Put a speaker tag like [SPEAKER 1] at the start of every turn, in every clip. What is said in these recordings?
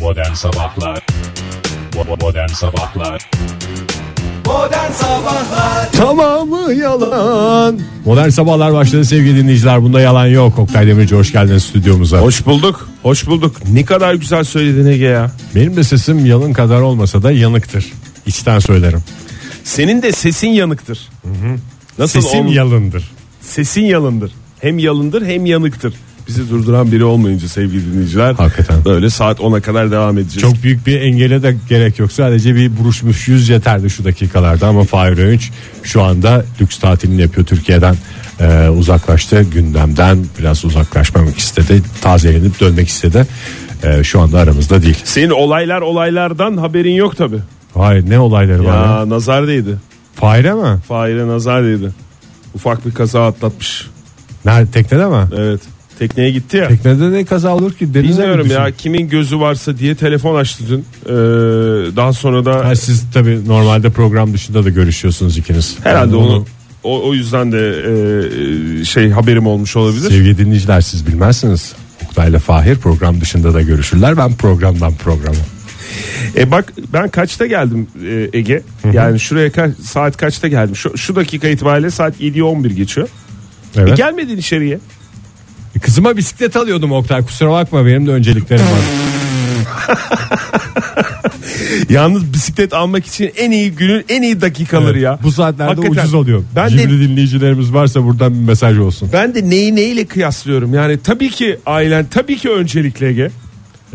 [SPEAKER 1] Modern Sabahlar Bo- Modern Sabahlar
[SPEAKER 2] Tamamı yalan. Modern sabahlar başladı sevgili dinleyiciler. Bunda yalan yok. Oktay Demirci hoş geldiniz stüdyomuza.
[SPEAKER 3] Hoş bulduk. Hoş bulduk. Ne kadar güzel söyledin Ege ya.
[SPEAKER 2] Benim de sesim yalın kadar olmasa da yanıktır. İçten söylerim.
[SPEAKER 3] Senin de sesin yanıktır. Nasıl
[SPEAKER 2] Sesim
[SPEAKER 3] ol-
[SPEAKER 2] yalındır.
[SPEAKER 3] sesin yalındır. Hem yalındır hem yanıktır. Bizi durduran biri olmayınca sevgili dinleyiciler.
[SPEAKER 2] Hakikaten.
[SPEAKER 3] Böyle saat 10'a kadar devam edeceğiz.
[SPEAKER 2] Çok büyük bir engele de gerek yok. Sadece bir buruşmuş yüz yeterdi şu dakikalarda ama Fahir Öğünç şu anda lüks tatilini yapıyor Türkiye'den. Ee, uzaklaştı gündemden biraz uzaklaşmamak istedi. Tazelenip dönmek istedi. Ee, şu anda aramızda değil.
[SPEAKER 3] Senin olaylar olaylardan haberin yok tabi.
[SPEAKER 2] Hayır ne olayları
[SPEAKER 3] Ya
[SPEAKER 2] var ya?
[SPEAKER 3] nazar değdi.
[SPEAKER 2] Fahir'e mi?
[SPEAKER 3] Fahir'e nazar değdi. Ufak bir kaza atlatmış.
[SPEAKER 2] Nerede teknede mi?
[SPEAKER 3] Evet. Tekneye gitti ya.
[SPEAKER 2] Teknede ne kaza olur ki? Denize mi
[SPEAKER 3] Bilmiyorum
[SPEAKER 2] düşün?
[SPEAKER 3] ya kimin gözü varsa diye telefon açtı dün. Ee, daha sonra da
[SPEAKER 2] Ha, siz tabii normalde program dışında da görüşüyorsunuz ikiniz. Yani
[SPEAKER 3] Herhalde onu o, o yüzden de e, e, şey haberim olmuş olabilir.
[SPEAKER 2] Sevgili dinleyiciler siz bilmezsiniz. Oktay'la Fahir program dışında da görüşürler. Ben programdan programa.
[SPEAKER 3] E bak ben kaçta geldim e, Ege? Yani şuraya ka- saat kaçta geldim? Şu, şu dakika itibariyle saat 7'ye 11 geçiyor. E
[SPEAKER 2] Evet. E,
[SPEAKER 3] gelmedin içeriye.
[SPEAKER 2] Kızıma bisiklet alıyordum Oktay. Kusura bakma benim de önceliklerim var.
[SPEAKER 3] Yalnız bisiklet almak için en iyi günün en iyi dakikaları ya.
[SPEAKER 2] Bu saatlerde
[SPEAKER 3] Hakikaten.
[SPEAKER 2] ucuz oluyor.
[SPEAKER 3] Ben de-
[SPEAKER 2] Cimri dinleyicilerimiz varsa buradan bir mesaj olsun.
[SPEAKER 3] Ben de neyi neyle kıyaslıyorum? Yani tabii ki ailen tabii ki öncelikli Ege.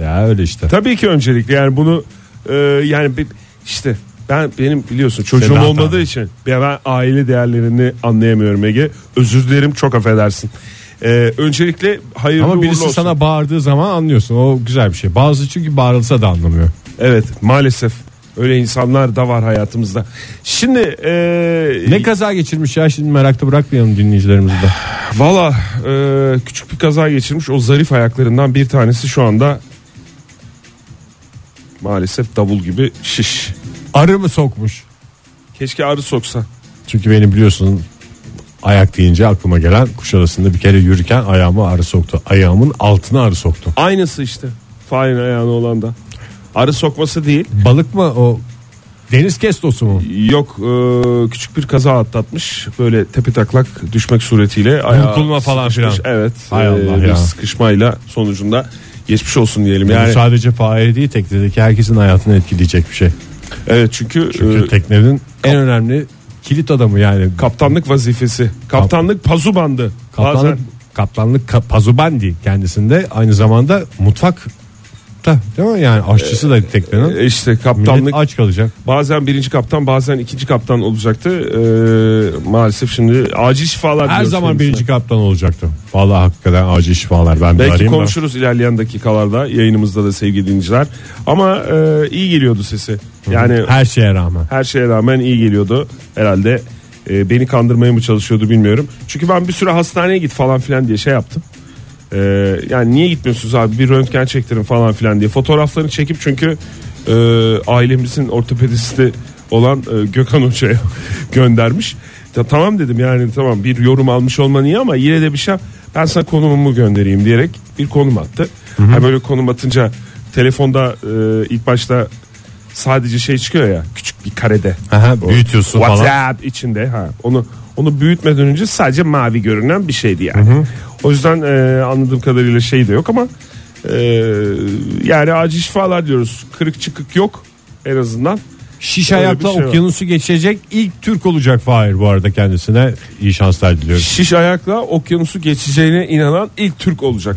[SPEAKER 2] Ya öyle işte.
[SPEAKER 3] Tabii ki öncelikli yani bunu e, yani bir- işte ben benim biliyorsun çocuğum
[SPEAKER 2] Sedat
[SPEAKER 3] olmadığı
[SPEAKER 2] abi.
[SPEAKER 3] için ya ben aile değerlerini anlayamıyorum Ege. Özür dilerim çok affedersin. E, öncelikle hayırlı
[SPEAKER 2] Ama
[SPEAKER 3] uğurlu
[SPEAKER 2] birisi
[SPEAKER 3] olsun.
[SPEAKER 2] sana bağırdığı zaman anlıyorsun. O güzel bir şey. Bazı çünkü bağırılsa da anlamıyor.
[SPEAKER 3] Evet maalesef öyle insanlar da var hayatımızda. Şimdi e,
[SPEAKER 2] Ne kaza geçirmiş ya şimdi merakta bırakmayalım dinleyicilerimizi de.
[SPEAKER 3] valla e, küçük bir kaza geçirmiş o zarif ayaklarından bir tanesi şu anda maalesef davul gibi şiş.
[SPEAKER 2] Arı mı sokmuş?
[SPEAKER 3] Keşke arı soksa.
[SPEAKER 2] Çünkü beni biliyorsun ayak deyince aklıma gelen Kuşadası'nda bir kere yürürken ayağıma arı soktu. Ayağımın altına arı soktu.
[SPEAKER 3] Aynısı işte. Fahin ayağına olan da. Arı sokması değil.
[SPEAKER 2] Balık mı o deniz kestosu mu?
[SPEAKER 3] Yok e, küçük bir kaza atlatmış. Böyle tepe taklak düşmek suretiyle. ayağı
[SPEAKER 2] Burkulma falan
[SPEAKER 3] sıkışmış.
[SPEAKER 2] filan.
[SPEAKER 3] Evet.
[SPEAKER 2] Hay
[SPEAKER 3] e,
[SPEAKER 2] Allah
[SPEAKER 3] bir
[SPEAKER 2] ya.
[SPEAKER 3] sıkışmayla sonucunda geçmiş olsun diyelim. Yani,
[SPEAKER 2] Bu sadece faili değil teknedeki herkesin hayatını etkileyecek bir şey.
[SPEAKER 3] evet çünkü,
[SPEAKER 2] Çünkü
[SPEAKER 3] e,
[SPEAKER 2] teknenin en önemli kilit adamı yani.
[SPEAKER 3] kaptanlık vazifesi. Kaptanlık pazu bandı.
[SPEAKER 2] kaptanlık
[SPEAKER 3] Bazen
[SPEAKER 2] kaptanlık ka- pazubandi kendisinde aynı zamanda mutfak da değil mi yani aşçısı da teknenin.
[SPEAKER 3] e, işte
[SPEAKER 2] Millet
[SPEAKER 3] kaptanlık
[SPEAKER 2] aç kalacak.
[SPEAKER 3] bazen birinci kaptan bazen ikinci kaptan olacaktı. E, maalesef şimdi acil şifalar
[SPEAKER 2] Her
[SPEAKER 3] diliyoruz
[SPEAKER 2] zaman
[SPEAKER 3] kendisine.
[SPEAKER 2] birinci kaptan olacaktı. Vallahi hakikaten acil şifalar. Ben bir
[SPEAKER 3] Belki
[SPEAKER 2] arayayım da.
[SPEAKER 3] konuşuruz ilerleyen dakikalarda yayınımızda da sevgili dinleyiciler. Ama e, iyi geliyordu sesi. Yani
[SPEAKER 2] Her şeye rağmen.
[SPEAKER 3] her şeye rağmen iyi geliyordu. Herhalde e, beni kandırmaya mı çalışıyordu bilmiyorum. Çünkü ben bir süre hastaneye git falan filan diye şey yaptım. E, yani niye gitmiyorsunuz abi bir röntgen çektirin falan filan diye. Fotoğraflarını çekip çünkü e, ailemizin ortopedisti olan e, Gökhan Hoca'ya göndermiş. Ya tamam dedim yani tamam bir yorum almış olman iyi ama yine de bir şey ben sana konumumu göndereyim diyerek bir konum attı. Ha böyle konum atınca telefonda e, ilk başta sadece şey çıkıyor ya küçük bir karede.
[SPEAKER 2] Aha, büyütüyorsun falan.
[SPEAKER 3] WhatsApp içinde ha. Onu onu büyütmeden önce sadece mavi görünen bir şeydi yani. O yüzden e, anladığım kadarıyla şey de yok ama e, yani acil şifalar diyoruz. Kırık çıkık yok en azından.
[SPEAKER 2] Şiş
[SPEAKER 3] Öyle
[SPEAKER 2] ayakla
[SPEAKER 3] bir şey var.
[SPEAKER 2] okyanusu geçecek ilk Türk olacak Fahir bu arada kendisine. iyi şanslar diliyorum.
[SPEAKER 3] Şiş ayakla okyanusu geçeceğine inanan ilk Türk olacak.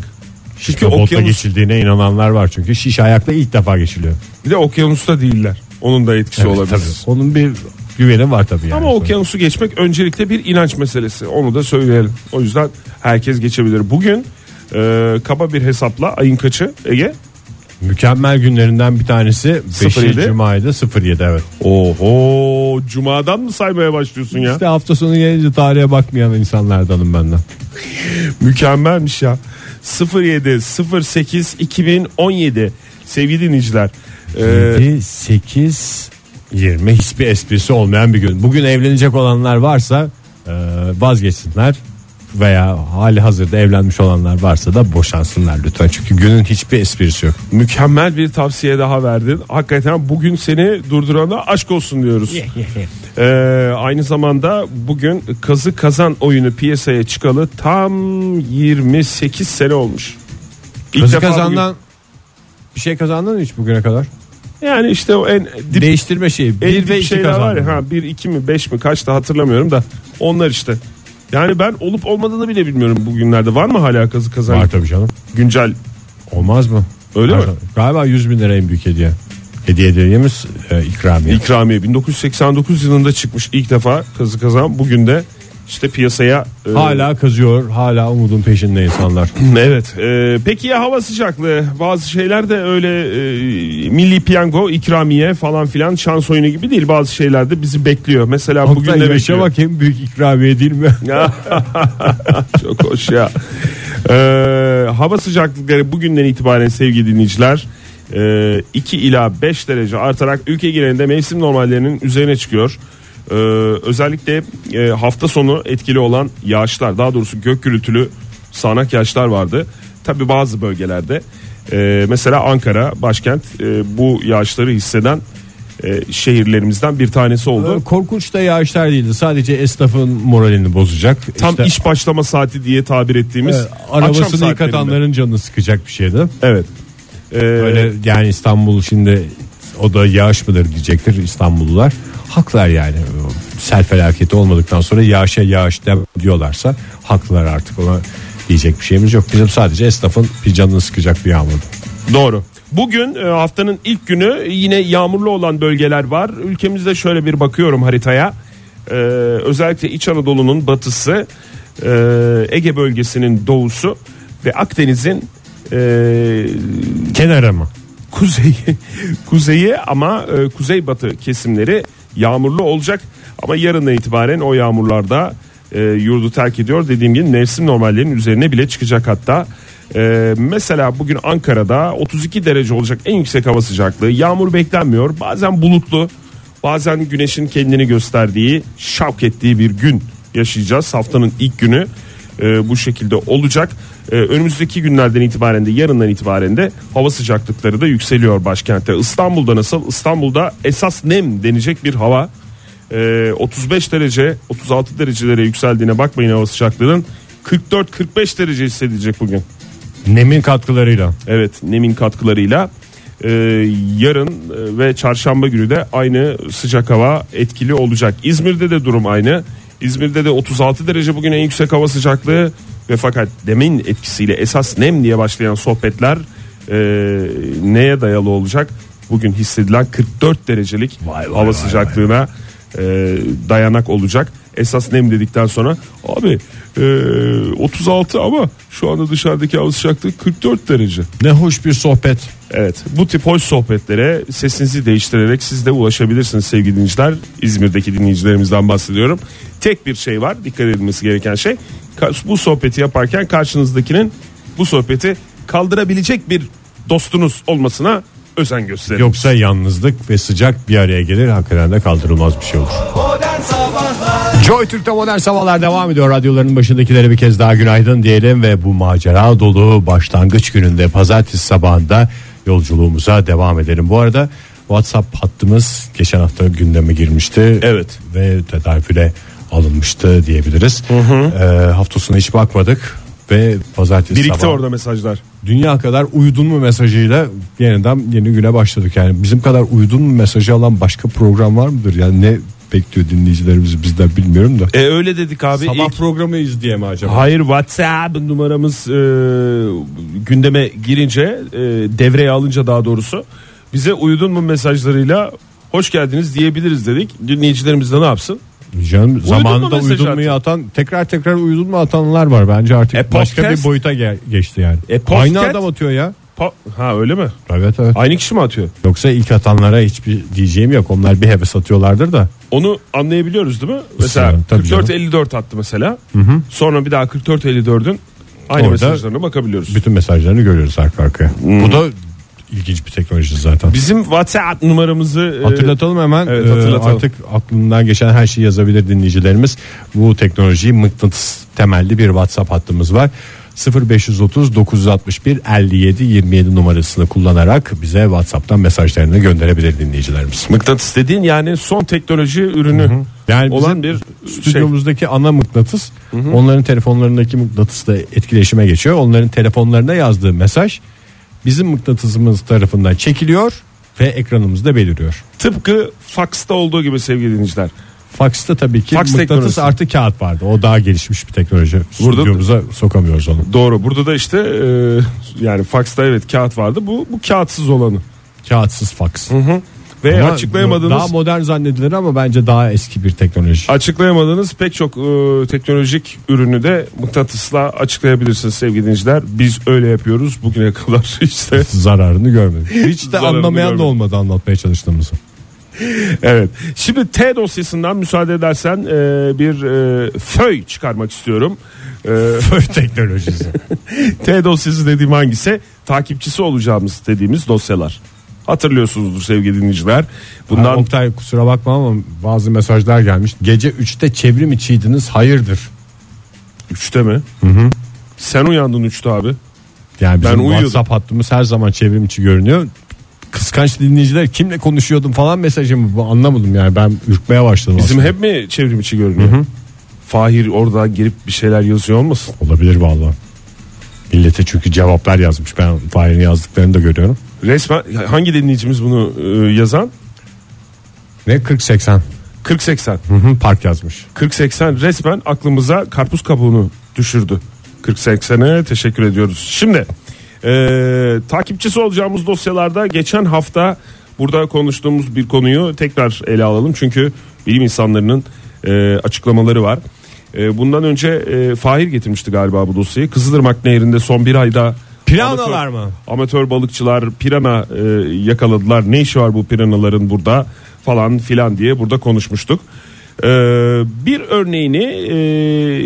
[SPEAKER 3] Çünkü
[SPEAKER 2] Çünkü botla
[SPEAKER 3] okyanus
[SPEAKER 2] geçildiğine inananlar var çünkü şiş ayakla ilk defa geçiliyor.
[SPEAKER 3] bir de okyanusta değiller. Onun da etkisi
[SPEAKER 2] Evet,
[SPEAKER 3] olabilir.
[SPEAKER 2] tabii. Onun bir güveni var tabii yani.
[SPEAKER 3] Ama okyanusu geçmek öncelikle bir inanç meselesi. Onu da söyleyelim. O yüzden herkes geçebilir. Bugün e, kaba bir hesapla ayın kaçı Ege?
[SPEAKER 2] Mükemmel günlerinden bir tanesi 5.
[SPEAKER 3] 07.
[SPEAKER 2] Cuma'ydı 07 evet.
[SPEAKER 3] Oho cumadan mı saymaya başlıyorsun ya?
[SPEAKER 2] İşte hafta sonu gelince tarihe bakmayan insanlardanım ben de.
[SPEAKER 3] Mükemmelmiş ya. 07 08 2017 sevgili dinleyiciler. E,
[SPEAKER 2] 7, 8, 20 hiçbir esprisi olmayan bir gün. Bugün evlenecek olanlar varsa e, vazgeçsinler. veya hali hazırda evlenmiş olanlar varsa da boşansınlar lütfen. Çünkü günün hiçbir esprisi yok.
[SPEAKER 3] Mükemmel bir tavsiye daha verdin. Hakikaten bugün seni durdurana aşk olsun diyoruz. Ee, aynı zamanda bugün kazı kazan oyunu piyasaya çıkalı tam 28 sene olmuş. İlk
[SPEAKER 2] Kazı
[SPEAKER 3] defa bugün-
[SPEAKER 2] kazandan bir şey kazandın mı hiç bugüne kadar?
[SPEAKER 3] yani işte o en dip,
[SPEAKER 2] Değiştirme şeyi.
[SPEAKER 3] en
[SPEAKER 2] Bir
[SPEAKER 3] dip
[SPEAKER 2] ve iki
[SPEAKER 3] şeyler var
[SPEAKER 2] kazandın.
[SPEAKER 3] ya ha, bir iki mi beş mi kaçtı hatırlamıyorum da onlar işte. Yani ben olup olmadığını bile bilmiyorum bugünlerde. Var mı hala kazı kazan
[SPEAKER 2] Var tabii canım.
[SPEAKER 3] güncel?
[SPEAKER 2] Olmaz mı?
[SPEAKER 3] Öyle mi?
[SPEAKER 2] Pardon. Galiba 100 bin lira en büyük hediye. Hediye dediğimiz e, ikramiye.
[SPEAKER 3] İkramiye 1989 yılında çıkmış ilk defa kazı kazan. Bugün de işte piyasaya e,
[SPEAKER 2] hala kazıyor, hala umudun peşinde insanlar.
[SPEAKER 3] Evet. e, peki ya hava sıcaklığı? Bazı şeyler de öyle e, milli piyango, ikramiye falan filan şans oyunu gibi değil. Bazı şeyler de bizi bekliyor. Mesela bugün de
[SPEAKER 2] Bugün
[SPEAKER 3] bekliyor.
[SPEAKER 2] de bak en büyük ikramiye değil mi?
[SPEAKER 3] Çok hoş ya. E, hava sıcaklıkları bugünden itibaren sevgili dinleyiciler e, 2 ila 5 derece artarak ülke genelinde mevsim normallerinin üzerine çıkıyor. E, özellikle e, hafta sonu etkili olan yağışlar daha doğrusu gök gürültülü sağanak yağışlar vardı. Tabi bazı bölgelerde e, mesela Ankara başkent e, bu yağışları hisseden e, şehirlerimizden bir tanesi oldu.
[SPEAKER 2] Korkunç da yağışlar değildi. Sadece esnafın moralini bozacak.
[SPEAKER 3] Tam
[SPEAKER 2] İşte,
[SPEAKER 3] iş başlama saati diye tabir ettiğimiz
[SPEAKER 2] e,
[SPEAKER 3] akşam
[SPEAKER 2] arabasını
[SPEAKER 3] saatlerinde.
[SPEAKER 2] yıkatanların canını sıkacak bir şeydi.
[SPEAKER 3] Evet. Ee,
[SPEAKER 2] Böyle yani İstanbul şimdi o da yağış mıdır diyecektir İstanbullular. Haklar yani. Sel felaketi olmadıktan sonra yağışa yağış dem- diyorlarsa haklılar artık ona diyecek bir şeyimiz yok. Bizim sadece esnafın bir canını sıkacak bir yağmur.
[SPEAKER 3] Doğru. Bugün e, haftanın ilk günü yine yağmurlu olan bölgeler var. Ülkemizde şöyle bir bakıyorum haritaya. Ee, özellikle İç Anadolu'nun batısı, e, Ege bölgesinin doğusu ve Akdeniz'in e,
[SPEAKER 2] Kenara mı?
[SPEAKER 3] kuzeyi kuzeyi ama e, kuzeybatı kesimleri yağmurlu olacak ama yarından itibaren o yağmurlarda e, yurdu terk ediyor dediğim gibi mevsim normallerinin üzerine bile çıkacak hatta E, mesela bugün Ankara'da 32 derece olacak en yüksek hava sıcaklığı yağmur beklenmiyor bazen bulutlu bazen güneşin kendini gösterdiği şavk ettiği bir gün yaşayacağız haftanın ilk günü e, bu şekilde olacak. E, önümüzdeki günlerden itibaren de yarından itibaren de hava sıcaklıkları da yükseliyor başkentte. İstanbul'da nasıl? İstanbul'da esas nem denecek bir hava. E, 35 derece 36 derecelere yükseldiğine bakmayın hava sıcaklığının 44-45 derece hissedilecek bugün.
[SPEAKER 2] Nemin katkılarıyla.
[SPEAKER 3] Evet nemin katkılarıyla e, yarın e, ve çarşamba günü de aynı sıcak hava etkili olacak. İzmir'de de durum aynı. İzmir'de de 36 derece bugün en yüksek hava sıcaklığı ve fakat demin etkisiyle esas nem diye başlayan sohbetler e, neye dayalı olacak? Bugün hissedilen 44 derecelik
[SPEAKER 2] Vay vay
[SPEAKER 3] hava
[SPEAKER 2] vay
[SPEAKER 3] sıcaklığına e, dayanak olacak. Esas nem dedikten sonra abi e, 36 ama şu anda dışarıdaki hava sıcaklığı 44 derece.
[SPEAKER 2] Ne hoş bir sohbet.
[SPEAKER 3] Evet bu tip hoş sohbetlere sesinizi değiştirerek siz de ulaşabilirsiniz sevgili dinleyiciler. İzmir'deki dinleyicilerimizden bahsediyorum. Tek bir şey var dikkat edilmesi gereken şey ka- bu sohbeti yaparken karşınızdakinin bu sohbeti kaldırabilecek bir dostunuz olmasına özen gösterin.
[SPEAKER 2] Yoksa yalnızlık ve sıcak bir araya gelir hakikaten de kaldırılmaz bir şey olur.
[SPEAKER 4] Modern Sabahlar
[SPEAKER 2] Joy Türk'te modern sabahlar devam ediyor. Radyoların başındakilere bir kez daha günaydın diyelim ve bu macera dolu başlangıç gününde pazartesi sabahında yolculuğumuza devam edelim. Bu arada WhatsApp hattımız geçen hafta gündeme girmişti.
[SPEAKER 3] Evet.
[SPEAKER 2] Ve tedavüle alınmıştı diyebiliriz. Ee, haftasına hiç bakmadık ve pazartesi
[SPEAKER 3] Birikti
[SPEAKER 2] sabahı-
[SPEAKER 3] orada mesajlar.
[SPEAKER 2] dünya kadar uyudun mu mesajıyla yeniden yeni güne başladık. Yani bizim kadar uyudun mu mesajı alan başka program var mıdır? Yani ne bekliyor dinleyicilerimizi bizden bilmiyorum da.
[SPEAKER 3] E öyle dedik abi.
[SPEAKER 2] Sabah
[SPEAKER 3] İlk-
[SPEAKER 2] programı izleye mi acaba?
[SPEAKER 3] Hayır WhatsApp numaramız e, gündeme girince e, devreye alınca daha doğrusu bize uyudun mu mesajlarıyla hoş geldiniz diyebiliriz dedik. Dinleyicilerimiz de ne yapsın?
[SPEAKER 2] Canım,
[SPEAKER 3] mu
[SPEAKER 2] zamanında
[SPEAKER 3] mesajı
[SPEAKER 2] uyudun mu atan tekrar tekrar uyudun mu atanlar var bence artık
[SPEAKER 3] E,
[SPEAKER 2] başka
[SPEAKER 3] podcast-
[SPEAKER 2] bir boyuta gel- geçti yani.
[SPEAKER 3] E, podcast-
[SPEAKER 2] Aynı adam atıyor ya.
[SPEAKER 3] Pa- ha öyle mi?
[SPEAKER 2] Evet evet.
[SPEAKER 3] Aynı kişi mi atıyor?
[SPEAKER 2] Yoksa ilk atanlara hiçbir diyeceğim yok. Onlar bir heves atıyorlardır da.
[SPEAKER 3] Onu anlayabiliyoruz değil mi? Mesela
[SPEAKER 2] Yani, tabii
[SPEAKER 3] 44 54 attı mesela. Sonra bir daha 44 54'ün aynı
[SPEAKER 2] Orada
[SPEAKER 3] mesajlarına bakabiliyoruz. Hmm.
[SPEAKER 2] Bütün mesajlarını görüyoruz arka arkaya. Bu da ilginç bir teknoloji zaten.
[SPEAKER 3] Bizim WhatsApp numaramızı e,
[SPEAKER 2] Hatırlatalım hemen.
[SPEAKER 3] Evet,
[SPEAKER 2] Ee,
[SPEAKER 3] hatırlatalım.
[SPEAKER 2] Artık aklından geçen her şeyi yazabilir dinleyicilerimiz. Bu teknolojiyi mıknatıs temelli bir WhatsApp hattımız var. 0530 961 57 27 numarasını kullanarak bize WhatsApp'tan mesajlarını gönderebilir dinleyicilerimiz.
[SPEAKER 3] mıknatıs dediğin yani son teknoloji ürünü
[SPEAKER 2] Yani
[SPEAKER 3] olan
[SPEAKER 2] Olan
[SPEAKER 3] bir şey.
[SPEAKER 2] stüdyomuzdaki ana mıknatıs onların telefonlarındaki mıknatısla etkileşime geçiyor. Onların telefonlarına yazdığı mesaj bizim mıknatısımız tarafından çekiliyor ve ekranımızda beliriyor.
[SPEAKER 3] Tıpkı faxta olduğu gibi sevgili dinleyiciler.
[SPEAKER 2] Faks'ta tabii ki
[SPEAKER 3] Faks
[SPEAKER 2] mıknatıs
[SPEAKER 3] teknolojisi.
[SPEAKER 2] artı kağıt vardı. O daha gelişmiş bir teknoloji.
[SPEAKER 3] Burada-
[SPEAKER 2] Stüdyomuza sokamıyoruz onu.
[SPEAKER 3] Doğru. Burada da işte e, yani faxta evet kağıt vardı. Bu bu kağıtsız olanı.
[SPEAKER 2] Kağıtsız faks.
[SPEAKER 3] Ve
[SPEAKER 2] Ama
[SPEAKER 3] açıklayamadığınız
[SPEAKER 2] Daha modern zannedilir ama bence daha eski bir teknoloji.
[SPEAKER 3] açıklayamadığınız pek çok e, teknolojik ürünü de mıknatısla açıklayabilirsiniz sevgili dinleyiciler. Biz öyle yapıyoruz bugüne kadar işte.
[SPEAKER 2] Zararını görmedik. Hiç de
[SPEAKER 3] Zararını
[SPEAKER 2] anlamayan da
[SPEAKER 3] görmedik.
[SPEAKER 2] olmadı anlatmaya çalıştığımızı.
[SPEAKER 3] evet. Şimdi T dosyasından müsaade edersen e, bir e, föy çıkarmak istiyorum. E,
[SPEAKER 2] Föy teknolojisi.
[SPEAKER 3] T dosyası dediğim hangisi? Takipçisi olacağımız dediğimiz dosyalar. Hatırlıyorsunuzdur sevgili dinleyiciler. Bundan
[SPEAKER 2] Bundan... Oktay kusura bakma ama bazı mesajlar gelmiş. Gece 3'te çevrim içiydiniz hayırdır.
[SPEAKER 3] 3'te mi? Sen uyandın 3'te abi.
[SPEAKER 2] Yani bizim
[SPEAKER 3] Ben uyuyordum.
[SPEAKER 2] WhatsApp hattımız her zaman çevrim içi görünüyor. Kıskanç dinleyiciler kimle konuşuyordum falan mesajı mı? Bu Anlamadım yani ben ürkmeye başladım.
[SPEAKER 3] Bizim
[SPEAKER 2] aslında.
[SPEAKER 3] hep mi çevrim içi görünüyor? Fahir orada girip bir şeyler yazıyor olmasın?
[SPEAKER 2] Olabilir vallahi. Millete çünkü cevaplar yazmış. Ben Fahir'in yazdıklarını da görüyorum.
[SPEAKER 3] Resmen hangi dinleyicimiz bunu e, yazan?
[SPEAKER 2] Ne 40-80
[SPEAKER 3] 40-80.
[SPEAKER 2] Hı hı, park yazmış.
[SPEAKER 3] 40-80 resmen aklımıza karpuz kabuğunu düşürdü. 40-80'e teşekkür ediyoruz. Şimdi e, takipçisi olacağımız dosyalarda geçen hafta burada konuştuğumuz bir konuyu tekrar ele alalım. Çünkü bilim insanlarının e, açıklamaları var. E, bundan önce e, Fahir getirmişti galiba bu dosyayı. Kızılırmak Nehri'nde son bir ayda
[SPEAKER 2] Piranalar mı?
[SPEAKER 3] Amatör balıkçılar pirana e, yakaladılar. Ne işi var bu piranaların burada falan filan diye burada konuşmuştuk. E, bir örneğini e,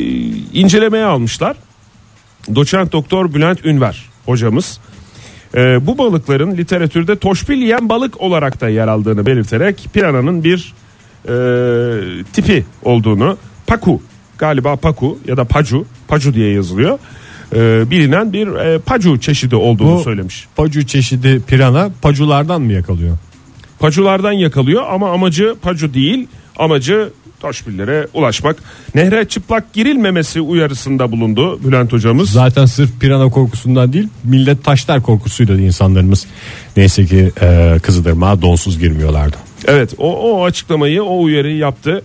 [SPEAKER 3] incelemeye almışlar. Doçent Doktor Bülent Ünver hocamız. e, bu balıkların literatürde toşbil yiyen balık olarak da yer aldığını belirterek pirananın bir e, tipi olduğunu paku galiba paku ya da pacu pacu diye yazılıyor. E, bilinen bir e, pacu çeşidi olduğunu
[SPEAKER 2] Bu-
[SPEAKER 3] söylemiş.
[SPEAKER 2] Pacu çeşidi pirana paculardan mı yakalıyor?
[SPEAKER 3] Paculardan yakalıyor ama amacı pacu değil amacı toşbillere ulaşmak. Nehre çıplak girilmemesi uyarısında bulundu Bülent hocamız.
[SPEAKER 2] Zaten sırf pirana korkusundan değil millet taşlar korkusuyla insanlarımız neyse ki e, Kızılırmak'a donsuz girmiyorlardı.
[SPEAKER 3] Evet o, o açıklamayı o uyarıyı yaptı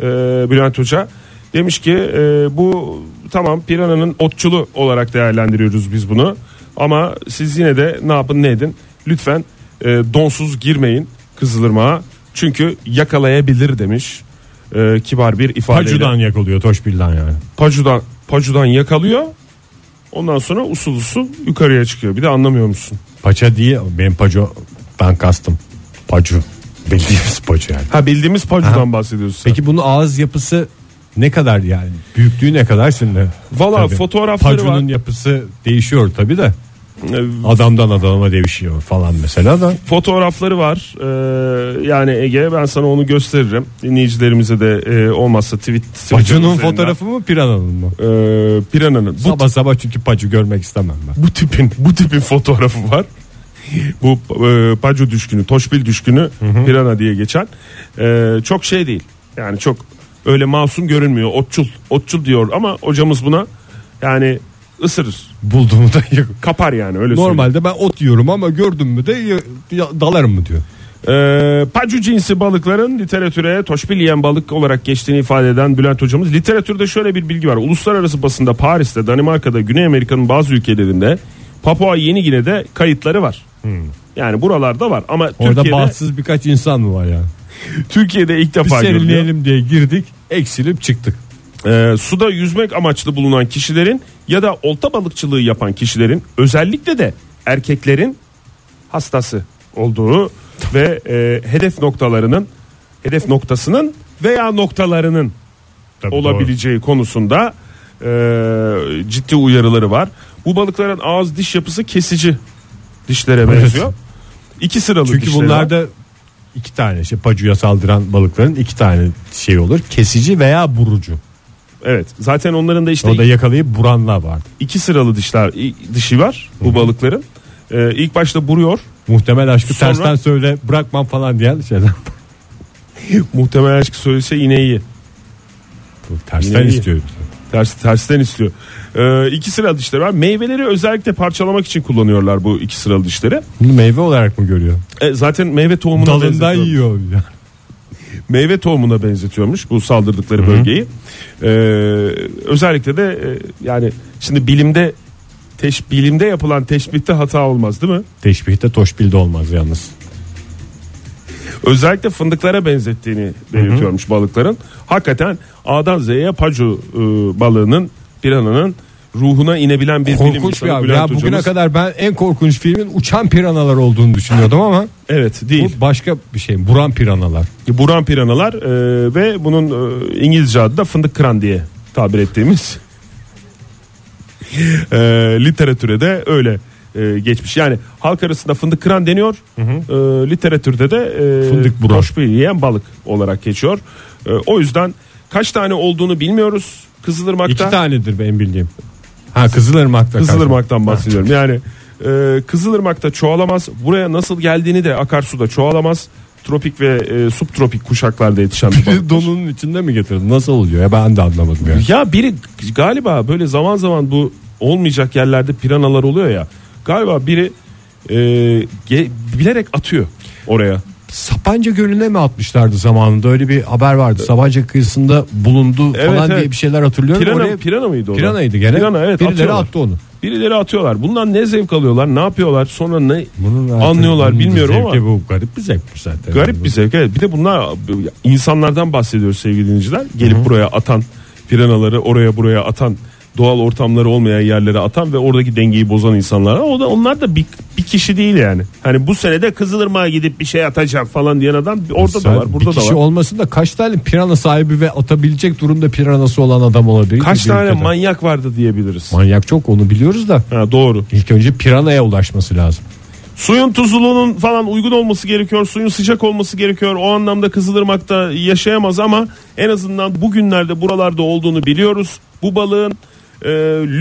[SPEAKER 3] e, Bülent Hoca. Demiş ki e, bu tamam Piranha'nın otçulu olarak değerlendiriyoruz biz bunu. Ama siz yine de ne yapın ne edin lütfen e, donsuz girmeyin Kızılırmak'a. Çünkü yakalayabilir demiş e, kibar bir ifadeyle.
[SPEAKER 2] Pacudan yakalıyor Toşbil'den yani.
[SPEAKER 3] Pacudan, pacudan yakalıyor. Ondan sonra usul usul yukarıya çıkıyor. Bir de anlamıyor musun?
[SPEAKER 2] Paça değil benim pacudan kastım. Pacu bildiğimiz pacu yani.
[SPEAKER 3] Ha bildiğimiz pacudan bahsediyorsun. sen.
[SPEAKER 2] Peki bunun ağız yapısı ne kadar yani? Büyüklüğü ne kadar şimdi?
[SPEAKER 3] Valla
[SPEAKER 2] Tabii.
[SPEAKER 3] fotoğrafları var.
[SPEAKER 2] Pacunun yapısı değişiyor tabi de.
[SPEAKER 3] E,
[SPEAKER 2] Adamdan adama değişiyor falan mesela da.
[SPEAKER 3] Fotoğrafları var. Ee, yani Ege ben sana onu gösteririm. Dinleyicilerimize de e, olmazsa tweet. Twitter
[SPEAKER 2] Pacunun
[SPEAKER 3] üzerinden.
[SPEAKER 2] fotoğrafı mı pirananın mı?
[SPEAKER 3] Ee, Piranha'nın. Bu,
[SPEAKER 2] sabah sabah çünkü pacu görmek istemem ben.
[SPEAKER 3] bu tipin bu tipin fotoğrafı var. Bu e, Pacu düşkünü, Toşbil düşkünü Pirana diye geçen. Ee, çok şey değil. Yani çok öyle masum görünmüyor. Otçul, otçul diyor ama hocamız buna yani ısırır.
[SPEAKER 2] Bulduğumu da yok.
[SPEAKER 3] Kapar yani öyle söyleyeyim.
[SPEAKER 2] Normalde ben ot yiyorum ama gördüm mü de ya- ya- dalarım mı diyor.
[SPEAKER 3] Ee, pacu cinsi balıkların literatüre toşbil yiyen balık olarak geçtiğini ifade eden Bülent hocamız literatürde şöyle bir bilgi var. Uluslararası basında Paris'te, Danimarka'da, Güney Amerika'nın bazı ülkelerinde Papua Yeni Gine'de kayıtları var. Yani buralarda var ama
[SPEAKER 2] Hmm. Orada
[SPEAKER 3] Türkiye'de,
[SPEAKER 2] bahtsız birkaç insan mı var yani?
[SPEAKER 3] Türkiye'de ilk
[SPEAKER 2] Bir
[SPEAKER 3] defa görülüyor.
[SPEAKER 2] serinleyelim diye girdik eksilip çıktık.
[SPEAKER 3] Ee, suda yüzmek amaçlı bulunan kişilerin ya da olta balıkçılığı yapan kişilerin özellikle de erkeklerin hastası olduğu ve e, hedef noktalarının hedef noktasının veya noktalarının olabileceği konusunda e, ciddi uyarıları var. Bu balıkların ağız diş yapısı kesici dişlere benziyor. İki sıralı
[SPEAKER 2] Çünkü
[SPEAKER 3] dişleri var.
[SPEAKER 2] bunlarda iki tane şey pacuya saldıran balıkların iki tane şey olur. Kesici veya burucu.
[SPEAKER 3] evet zaten onların da işte
[SPEAKER 2] Orada yakalayıp buranlar var.
[SPEAKER 3] iki sıralı dişler i- dişi var bu balıkların. Ee, ilk başta buruyor.
[SPEAKER 2] Muhtemel aşkı
[SPEAKER 3] Sonra-
[SPEAKER 2] tersten söyle bırakmam falan diyen şeyler.
[SPEAKER 3] Muhtemelen aşkı söylese ineği.
[SPEAKER 2] Bu tersten
[SPEAKER 3] Yine iyi.
[SPEAKER 2] istiyorum.
[SPEAKER 3] Ters, tersten istiyor. Ee, iki sıralı dişleri var. Meyveleri özellikle parçalamak için kullanıyorlar bu iki sıralı dişleri.
[SPEAKER 2] Bunu meyve olarak mı görüyor?
[SPEAKER 3] E, zaten meyve tohumuna
[SPEAKER 2] Dalından
[SPEAKER 3] benzetiyor.
[SPEAKER 2] yiyor.
[SPEAKER 3] Meyve tohumuna benzetiyormuş bu saldırdıkları bölgeyi. Ee, özellikle de e, yani şimdi bilimde teş, bilimde yapılan teşbihte hata olmaz değil mi?
[SPEAKER 2] Teşbihte toşbilde olmaz yalnız.
[SPEAKER 3] Özellikle fındıklara benzettiğini belirtiyormuş balıkların. Hakikaten A'dan Z'ye pacu e, balığının pirananın ruhuna inebilen bir bilim
[SPEAKER 2] Korkunç
[SPEAKER 3] insanı
[SPEAKER 2] bir abi.
[SPEAKER 3] Bülent
[SPEAKER 2] Ya bugüne
[SPEAKER 3] hocamız.
[SPEAKER 2] kadar ben en korkunç filmin uçan piranalar olduğunu düşünüyordum ama
[SPEAKER 3] Evet değil.
[SPEAKER 2] bu başka bir şey. Buran piranalar.
[SPEAKER 3] Buran piranalar e, ve bunun e, İngilizce adı da fındık kıran diye tabir ettiğimiz e, literatüre de öyle e, geçmiş. Yani halk arasında fındık kıran deniyor. E, literatürde de e,
[SPEAKER 2] Fındık buran.
[SPEAKER 3] toşbil yiyen balık olarak geçiyor. E, o yüzden kaç tane olduğunu bilmiyoruz.
[SPEAKER 2] İki
[SPEAKER 3] Kızılırmak'ta
[SPEAKER 2] tanedir ben bildiğim. Ha Kızılırmak'ta.
[SPEAKER 3] Kızılırmak'tan bahsediyorum. Yani e, Kızılırmak'ta çoğalamaz. Buraya nasıl geldiğini de akarsuda çoğalamaz. Tropik ve e, subtropik kuşaklarda yetişen bir balık.
[SPEAKER 2] Donunun içinde mi getirdin? Nasıl oluyor? Ya ben de anlamadım ya.
[SPEAKER 3] Ya biri galiba böyle zaman zaman bu olmayacak yerlerde piranalar oluyor ya. Galiba biri e, ge- bilerek atıyor oraya.
[SPEAKER 2] Sapanca Gölü'ne mi atmışlardı zamanında? Öyle bir haber vardı. Sapanca kıyısında bulundu
[SPEAKER 3] Evet,
[SPEAKER 2] falan
[SPEAKER 3] evet.
[SPEAKER 2] diye bir şeyler hatırlıyorum.
[SPEAKER 3] Pirana,
[SPEAKER 2] Oraya-
[SPEAKER 3] pirana mıydı o? da?
[SPEAKER 2] Piranaydı gene.
[SPEAKER 3] Pirana evet
[SPEAKER 2] Birileri
[SPEAKER 3] atıyorlar.
[SPEAKER 2] attı onu.
[SPEAKER 3] Birileri atıyorlar. Bundan ne zevk alıyorlar? Ne yapıyorlar? Sonra ne
[SPEAKER 2] Bunun artık-
[SPEAKER 3] anlıyorlar
[SPEAKER 2] bunun
[SPEAKER 3] bilmiyorum
[SPEAKER 2] zevki
[SPEAKER 3] ama.
[SPEAKER 2] bu garip bir zevkmiş zaten.
[SPEAKER 3] Garip bir zevk evet. Bir de bunlar insanlardan bahsediyoruz sevgili dinleyiciler. Gelip buraya atan piranaları oraya buraya atan doğal ortamları olmayan yerlere atan ve oradaki dengeyi bozan insanlar. O da onlar da bir, bir kişi değil yani. Hani bu senede Kızılırmak'a gidip bir şey atacak falan diyen adam orada da var, burada
[SPEAKER 2] bir
[SPEAKER 3] da
[SPEAKER 2] kişi
[SPEAKER 3] var.
[SPEAKER 2] olmasın da kaç tane pirana sahibi ve atabilecek durumda piranası olan adam olabilir?
[SPEAKER 3] Kaç
[SPEAKER 2] ki bir
[SPEAKER 3] tane
[SPEAKER 2] ülkede?
[SPEAKER 3] manyak vardı diyebiliriz.
[SPEAKER 2] manyak çok onu biliyoruz da
[SPEAKER 3] Ha, doğru.
[SPEAKER 2] ilk önce piranaya ulaşması lazım.
[SPEAKER 3] Suyun tuzluluğunun falan uygun olması gerekiyor. Suyun sıcak olması gerekiyor. O anlamda Kızılırmak'ta yaşayamaz ama en azından bugünlerde buralarda olduğunu biliyoruz. Bu balığın e,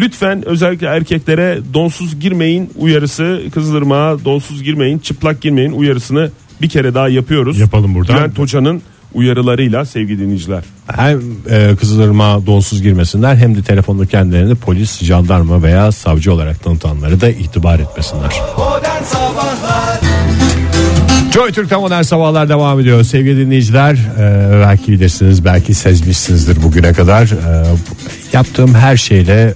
[SPEAKER 3] lütfen özellikle erkeklere donsuz girmeyin uyarısı Kızılırmak'a donsuz girmeyin çıplak girmeyin uyarısını bir kere daha yapıyoruz.
[SPEAKER 2] Yapalım buradan.
[SPEAKER 3] Bülent Hoca'nın uyarılarıyla sevgili dinleyiciler.
[SPEAKER 2] Hem e, Kızılırmak'a donsuz girmesinler hem de telefonda kendilerini polis, jandarma veya savcı olarak tanıtanları da itibar etmesinler.
[SPEAKER 4] Modern Sabahlar
[SPEAKER 2] Joy Türk'te modern sabahlar devam ediyor. Sevgili dinleyiciler e, belki bilirsiniz belki sezmişsinizdir bugüne kadar. E, yaptığım her şeyle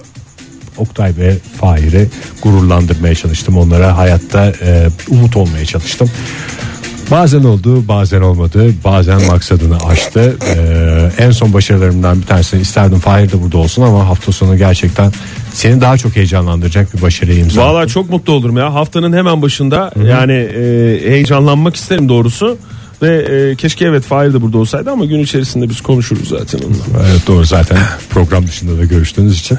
[SPEAKER 2] Oktay ve Fahir'i gururlandırmaya çalıştım. Onlara hayatta e, umut olmaya çalıştım. Bazen oldu bazen olmadı bazen maksadını aştı Ee, en son başarılarımdan bir tanesini isterdim Fahir de burada olsun ama hafta sonu gerçekten seni daha çok heyecanlandıracak bir başarıya imza
[SPEAKER 3] Valla çok mutlu olurum ya. Haftanın hemen başında yani e, heyecanlanmak isterim doğrusu. Ve e, keşke evet Fahir de burada olsaydı ama gün içerisinde biz konuşuruz zaten onunla.
[SPEAKER 2] Evet doğru zaten program dışında da görüştüğünüz için.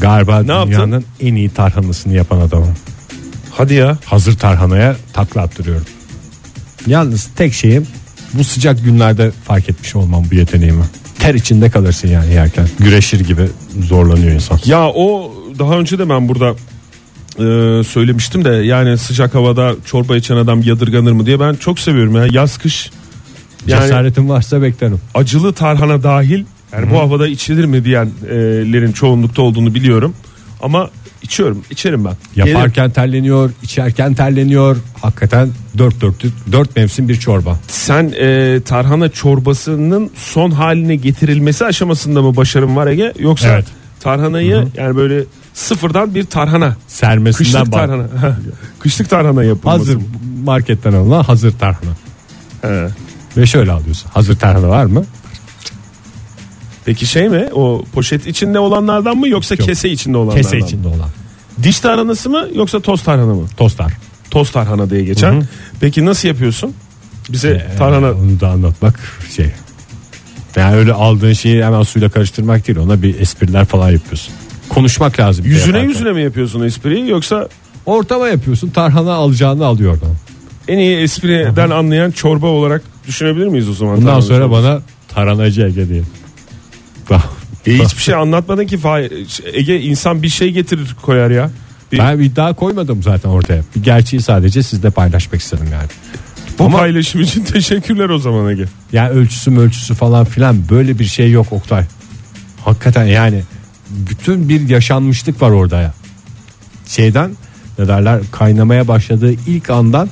[SPEAKER 2] Galiba
[SPEAKER 3] yaptın?
[SPEAKER 2] dünyanın en iyi tarhanasını yapan adamım.
[SPEAKER 3] Hadi ya.
[SPEAKER 2] Hazır tarhanaya takla attırıyorum. Yalnız tek şeyim bu sıcak günlerde fark etmiş olmam bu yeteneğimi. Ter içinde kalırsın yani yerken. Güreşir gibi zorlanıyor insan.
[SPEAKER 3] Ya o daha önce de ben burada e, söylemiştim de yani sıcak havada çorba içen adam yadırganır mı diye ben çok seviyorum ya. Yaz kış yani
[SPEAKER 2] Cesaretin varsa beklerim.
[SPEAKER 3] acılı tarhana dahil yani bu havada içilir mi diyenlerin çoğunlukta olduğunu biliyorum. Ama içiyorum içerim ben. Yerim.
[SPEAKER 2] Yaparken terleniyor, içerken terleniyor. Hakikaten dört dörtlük, dört mevsim bir çorba.
[SPEAKER 3] Sen e, tarhana çorbasının son haline getirilmesi aşamasında mı başarın var Ege? Yoksa
[SPEAKER 2] Evet.
[SPEAKER 3] tarhanayı yani böyle sıfırdan bir tarhana.
[SPEAKER 2] Sermesinden
[SPEAKER 3] Kışlık
[SPEAKER 2] bak.
[SPEAKER 3] tarhana. Kışlık tarhana yapılması.
[SPEAKER 2] Hazır marketten alınan hazır tarhana.
[SPEAKER 3] He.
[SPEAKER 2] Ve şöyle alıyorsun. Hazır tarhana var mı?
[SPEAKER 3] Peki şey mi? O poşet içinde olanlardan mı yoksa
[SPEAKER 2] Yok.
[SPEAKER 3] kese içinde olanlardan
[SPEAKER 2] Kese
[SPEAKER 3] mı?
[SPEAKER 2] içinde olan.
[SPEAKER 3] Diş tarhanası mı yoksa toz tarhana mı?
[SPEAKER 2] Tostar.
[SPEAKER 3] Toz tarhana diye geçen. Peki nasıl yapıyorsun? Bize
[SPEAKER 2] Ee,
[SPEAKER 3] E, tarhana
[SPEAKER 2] Onu da anlatmak şey. Yani öyle aldığın şeyi hemen suyla karıştırmak değil. Ona bir espriler falan yapıyorsun. Konuşmak lazım. bir de
[SPEAKER 3] yüzüne
[SPEAKER 2] yaparken.
[SPEAKER 3] yüzüne mi yapıyorsun espriyi yoksa
[SPEAKER 2] Ortama yapıyorsun. Tarhana alacağını alıyor oradan.
[SPEAKER 3] En iyi espriden anlayan çorba olarak düşünebilir miyiz o zaman?
[SPEAKER 2] Bundan
[SPEAKER 3] Tamam,
[SPEAKER 2] sonra
[SPEAKER 3] tamam.
[SPEAKER 2] bana taranacı Ege diye.
[SPEAKER 3] E, hiçbir şey anlatmadın ki Fahir. Ege insan bir şey getirir koyar ya. Bir,
[SPEAKER 2] Ben bir iddia koymadım zaten ortaya. Bir gerçeği sadece sizle paylaşmak istedim yani.
[SPEAKER 3] bu paylaşım için teşekkürler o zaman Ege.
[SPEAKER 2] Ya ölçüsü ölçüsü falan filan böyle bir şey yok Oktay. Hakikaten yani bütün bir yaşanmışlık var orada ya. Şeyden ne derler kaynamaya başladığı ilk andan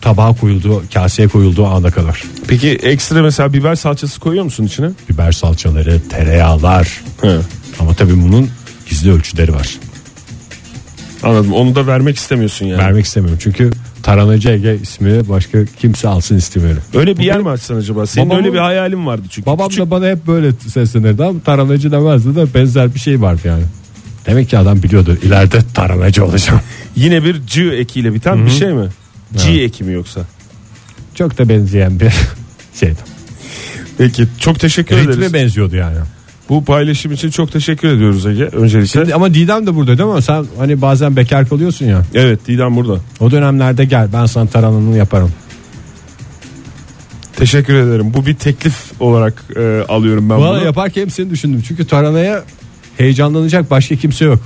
[SPEAKER 2] tabağa koyulduğu kaseye koyulduğu ana kadar.
[SPEAKER 3] Peki ekstra mesela biber salçası koyuyor musun içine?
[SPEAKER 2] Biber salçaları, tereyağlar
[SPEAKER 3] He.
[SPEAKER 2] ama tabii bunun gizli ölçüleri var.
[SPEAKER 3] Anladım. Onu da vermek istemiyorsun yani.
[SPEAKER 2] Vermek istemiyorum çünkü Taranacı Ege ismi başka kimse alsın istemiyorum.
[SPEAKER 3] Öyle bir yer mi açsan acaba? Senin
[SPEAKER 2] Babamın-
[SPEAKER 3] öyle bir hayalin vardı çünkü.
[SPEAKER 2] Babam
[SPEAKER 3] Küçük-
[SPEAKER 2] da bana hep böyle seslenirdi ama taranacı demezdi de benzer bir şey vardı yani. Demek ki adam biliyordu ileride taranacı olacağım.
[SPEAKER 3] Yine bir C ekiyle biten bir şey mi? C eki mi yoksa?
[SPEAKER 2] Çok da benzeyen bir şeydi.
[SPEAKER 3] Peki çok teşekkür ederiz.
[SPEAKER 2] Ritme benziyordu yani.
[SPEAKER 3] Bu paylaşım için çok teşekkür ediyoruz Ege öncelikle.
[SPEAKER 2] Şimdi ama Didem de burada değil mi? Sen hani bazen bekar kalıyorsun ya.
[SPEAKER 3] Evet Didem burada.
[SPEAKER 2] O dönemlerde gel ben sana taranını yaparım.
[SPEAKER 3] Teşekkür ederim. Bu bir teklif olarak e, alıyorum ben
[SPEAKER 2] Valla
[SPEAKER 3] bunu.
[SPEAKER 2] yaparken hepsini düşündüm. Çünkü taranaya heyecanlanacak başka kimse yok.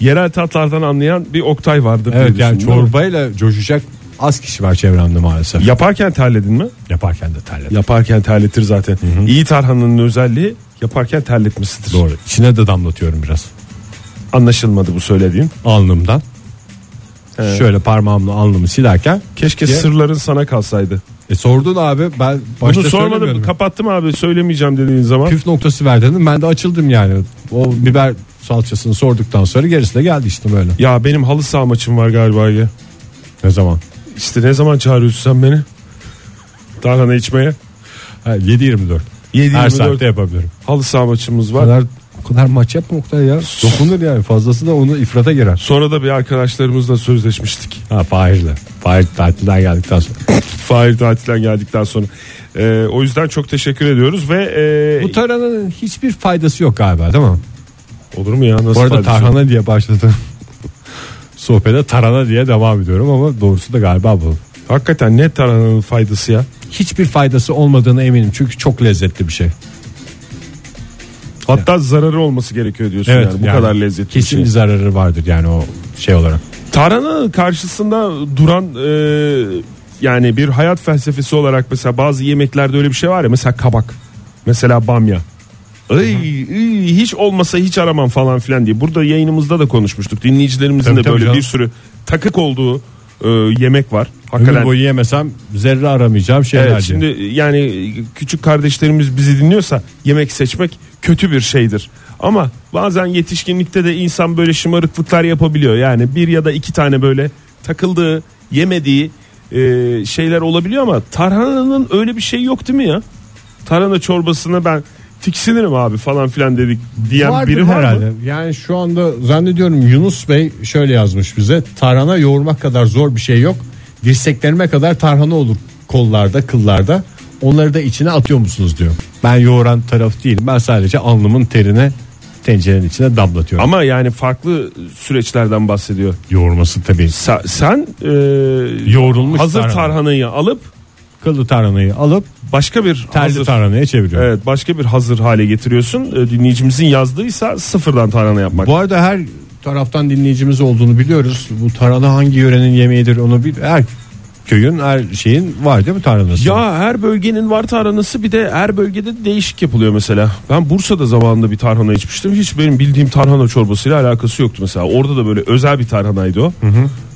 [SPEAKER 3] Yerel tatlardan anlayan bir Oktay vardır
[SPEAKER 2] Evet
[SPEAKER 3] diye
[SPEAKER 2] yani
[SPEAKER 3] düşündüm.
[SPEAKER 2] çorbayla coşacak az kişi var çevremde maalesef.
[SPEAKER 3] Yaparken terledin mi?
[SPEAKER 2] Yaparken de terledim.
[SPEAKER 3] Yaparken terletir zaten. İyi tarhananın özelliği yaparken terletmesidir.
[SPEAKER 2] Doğru. İçine de damlatıyorum biraz.
[SPEAKER 3] Anlaşılmadı bu söylediğim.
[SPEAKER 2] alnımdan.
[SPEAKER 3] Evet.
[SPEAKER 2] Şöyle parmağımla alnımı silerken
[SPEAKER 3] Keşke
[SPEAKER 2] Ya-
[SPEAKER 3] sırların sana kalsaydı.
[SPEAKER 2] e, sordun abi ben başta
[SPEAKER 3] Bunu sormadım.
[SPEAKER 2] söylemiyordum.
[SPEAKER 3] Kapattım abi söylemeyeceğim dediğin zaman.
[SPEAKER 2] Püf noktası ver dedim. Ben de açıldım yani. O biber salçasını sorduktan sonra gerisi de geldi işte böyle.
[SPEAKER 3] Ya benim halı saha maçım var galiba ya.
[SPEAKER 2] Ne zaman?
[SPEAKER 3] İşte ne zaman çağırıyorsun sen beni? Tarhana içmeye.
[SPEAKER 2] Ha, 7-24.
[SPEAKER 3] 7
[SPEAKER 2] Her saatte yapabilirim.
[SPEAKER 3] halı saha maçımız
[SPEAKER 2] O
[SPEAKER 3] var.
[SPEAKER 2] kadar, o kadar maç yapma Oktay ya. Dokunur yani fazlası da onu ifrata girer.
[SPEAKER 3] Sonra da bir arkadaşlarımızla sözleşmiştik.
[SPEAKER 2] Ha Fahir'le. Fahir tatilden geldikten sonra.
[SPEAKER 3] Fahir tatilden geldikten sonra. Ee, o yüzden çok teşekkür ediyoruz ve e,
[SPEAKER 2] Bu tarhananın hiçbir faydası yok galiba değil mi?
[SPEAKER 3] olur mu ya nasıl
[SPEAKER 2] Bu arada
[SPEAKER 3] faydası olur?
[SPEAKER 2] tarhana diye başladım. Sohbete tarhana diye devam ediyorum ama doğrusu da galiba bu.
[SPEAKER 3] Hakikaten ne tarhananın faydası ya?
[SPEAKER 2] hiçbir faydası olmadığına eminim. Çünkü çok lezzetli bir şey.
[SPEAKER 3] Hatta zararı olması gerekiyor diyorsun yani bu
[SPEAKER 2] yani
[SPEAKER 3] kadar lezzetli bir
[SPEAKER 2] Kesin
[SPEAKER 3] şey.
[SPEAKER 2] bir zararı vardır yani o şey olarak.
[SPEAKER 3] Tarhananın karşısında duran e, yani bir hayat felsefesi olarak mesela bazı yemeklerde öyle bir şey var ya mesela kabak. Mesela bamya. Ay, ay, hiç olmasa hiç aramam falan filan diye. Burada yayınımızda da konuşmuştuk. Dinleyicilerimizin
[SPEAKER 2] Tabii,
[SPEAKER 3] de
[SPEAKER 2] tabii
[SPEAKER 3] böyle
[SPEAKER 2] canım.
[SPEAKER 3] bir sürü takık olduğu e, yemek var.
[SPEAKER 2] Ömür
[SPEAKER 3] Hakikaten.
[SPEAKER 2] boyu yemesem zerre aramayacağım şeyler
[SPEAKER 3] Evet,
[SPEAKER 2] diye.
[SPEAKER 3] şimdi e, yani küçük kardeşlerimiz bizi dinliyorsa yemek seçmek kötü bir şeydir. Ama bazen yetişkinlikte de insan böyle şımarıklıklar yapabiliyor. Yani bir ya da iki tane böyle takıldığı, yemediği e, şeyler olabiliyor ama tarhananın öyle bir şey yok değil mi ya? Tarhana çorbasını ben tiksinirim abi falan filan dedik diyen
[SPEAKER 2] Vardır
[SPEAKER 3] biri var
[SPEAKER 2] herhalde.
[SPEAKER 3] mı?
[SPEAKER 2] Yani şu anda zannediyorum Yunus Bey şöyle yazmış bize. Tarhana yoğurmak kadar zor bir şey yok. Dirseklerime kadar tarhana olur kollarda, kıllarda. Onları da içine atıyor musunuz diyor. Ben yoğuran taraf değilim. Ben sadece alnımın terine tencerenin içine damlatıyorum.
[SPEAKER 3] Ama yani farklı süreçlerden bahsediyor.
[SPEAKER 2] yoğurması tabii.
[SPEAKER 3] Sa- sen e,
[SPEAKER 2] Yoğrulmuş
[SPEAKER 3] hazır
[SPEAKER 2] tarhana.
[SPEAKER 3] tarhanayı alıp
[SPEAKER 2] Kıllı tarhanayı alıp
[SPEAKER 3] başka bir
[SPEAKER 2] terli
[SPEAKER 3] hazır-
[SPEAKER 2] tarhanaya çeviriyorum.
[SPEAKER 3] Evet başka bir hazır hale getiriyorsun. Ee, Dinleyicimizin yazdığıysa sıfırdan tarhana yapmak.
[SPEAKER 2] Bu arada her taraftan dinleyicimiz olduğunu biliyoruz. Bu tarhana hangi yörenin yemeğidir onu bir her köyün her şeyin var değil mi tarhanası?
[SPEAKER 3] ya her bölgenin var tarhanası bir de her bölgede değişik yapılıyor mesela. Ben Bursa'da zamanında bir tarhana içmiştim. Hiç benim bildiğim tarhana çorbasıyla alakası yoktu mesela. Orada da böyle özel bir tarhanaydı o.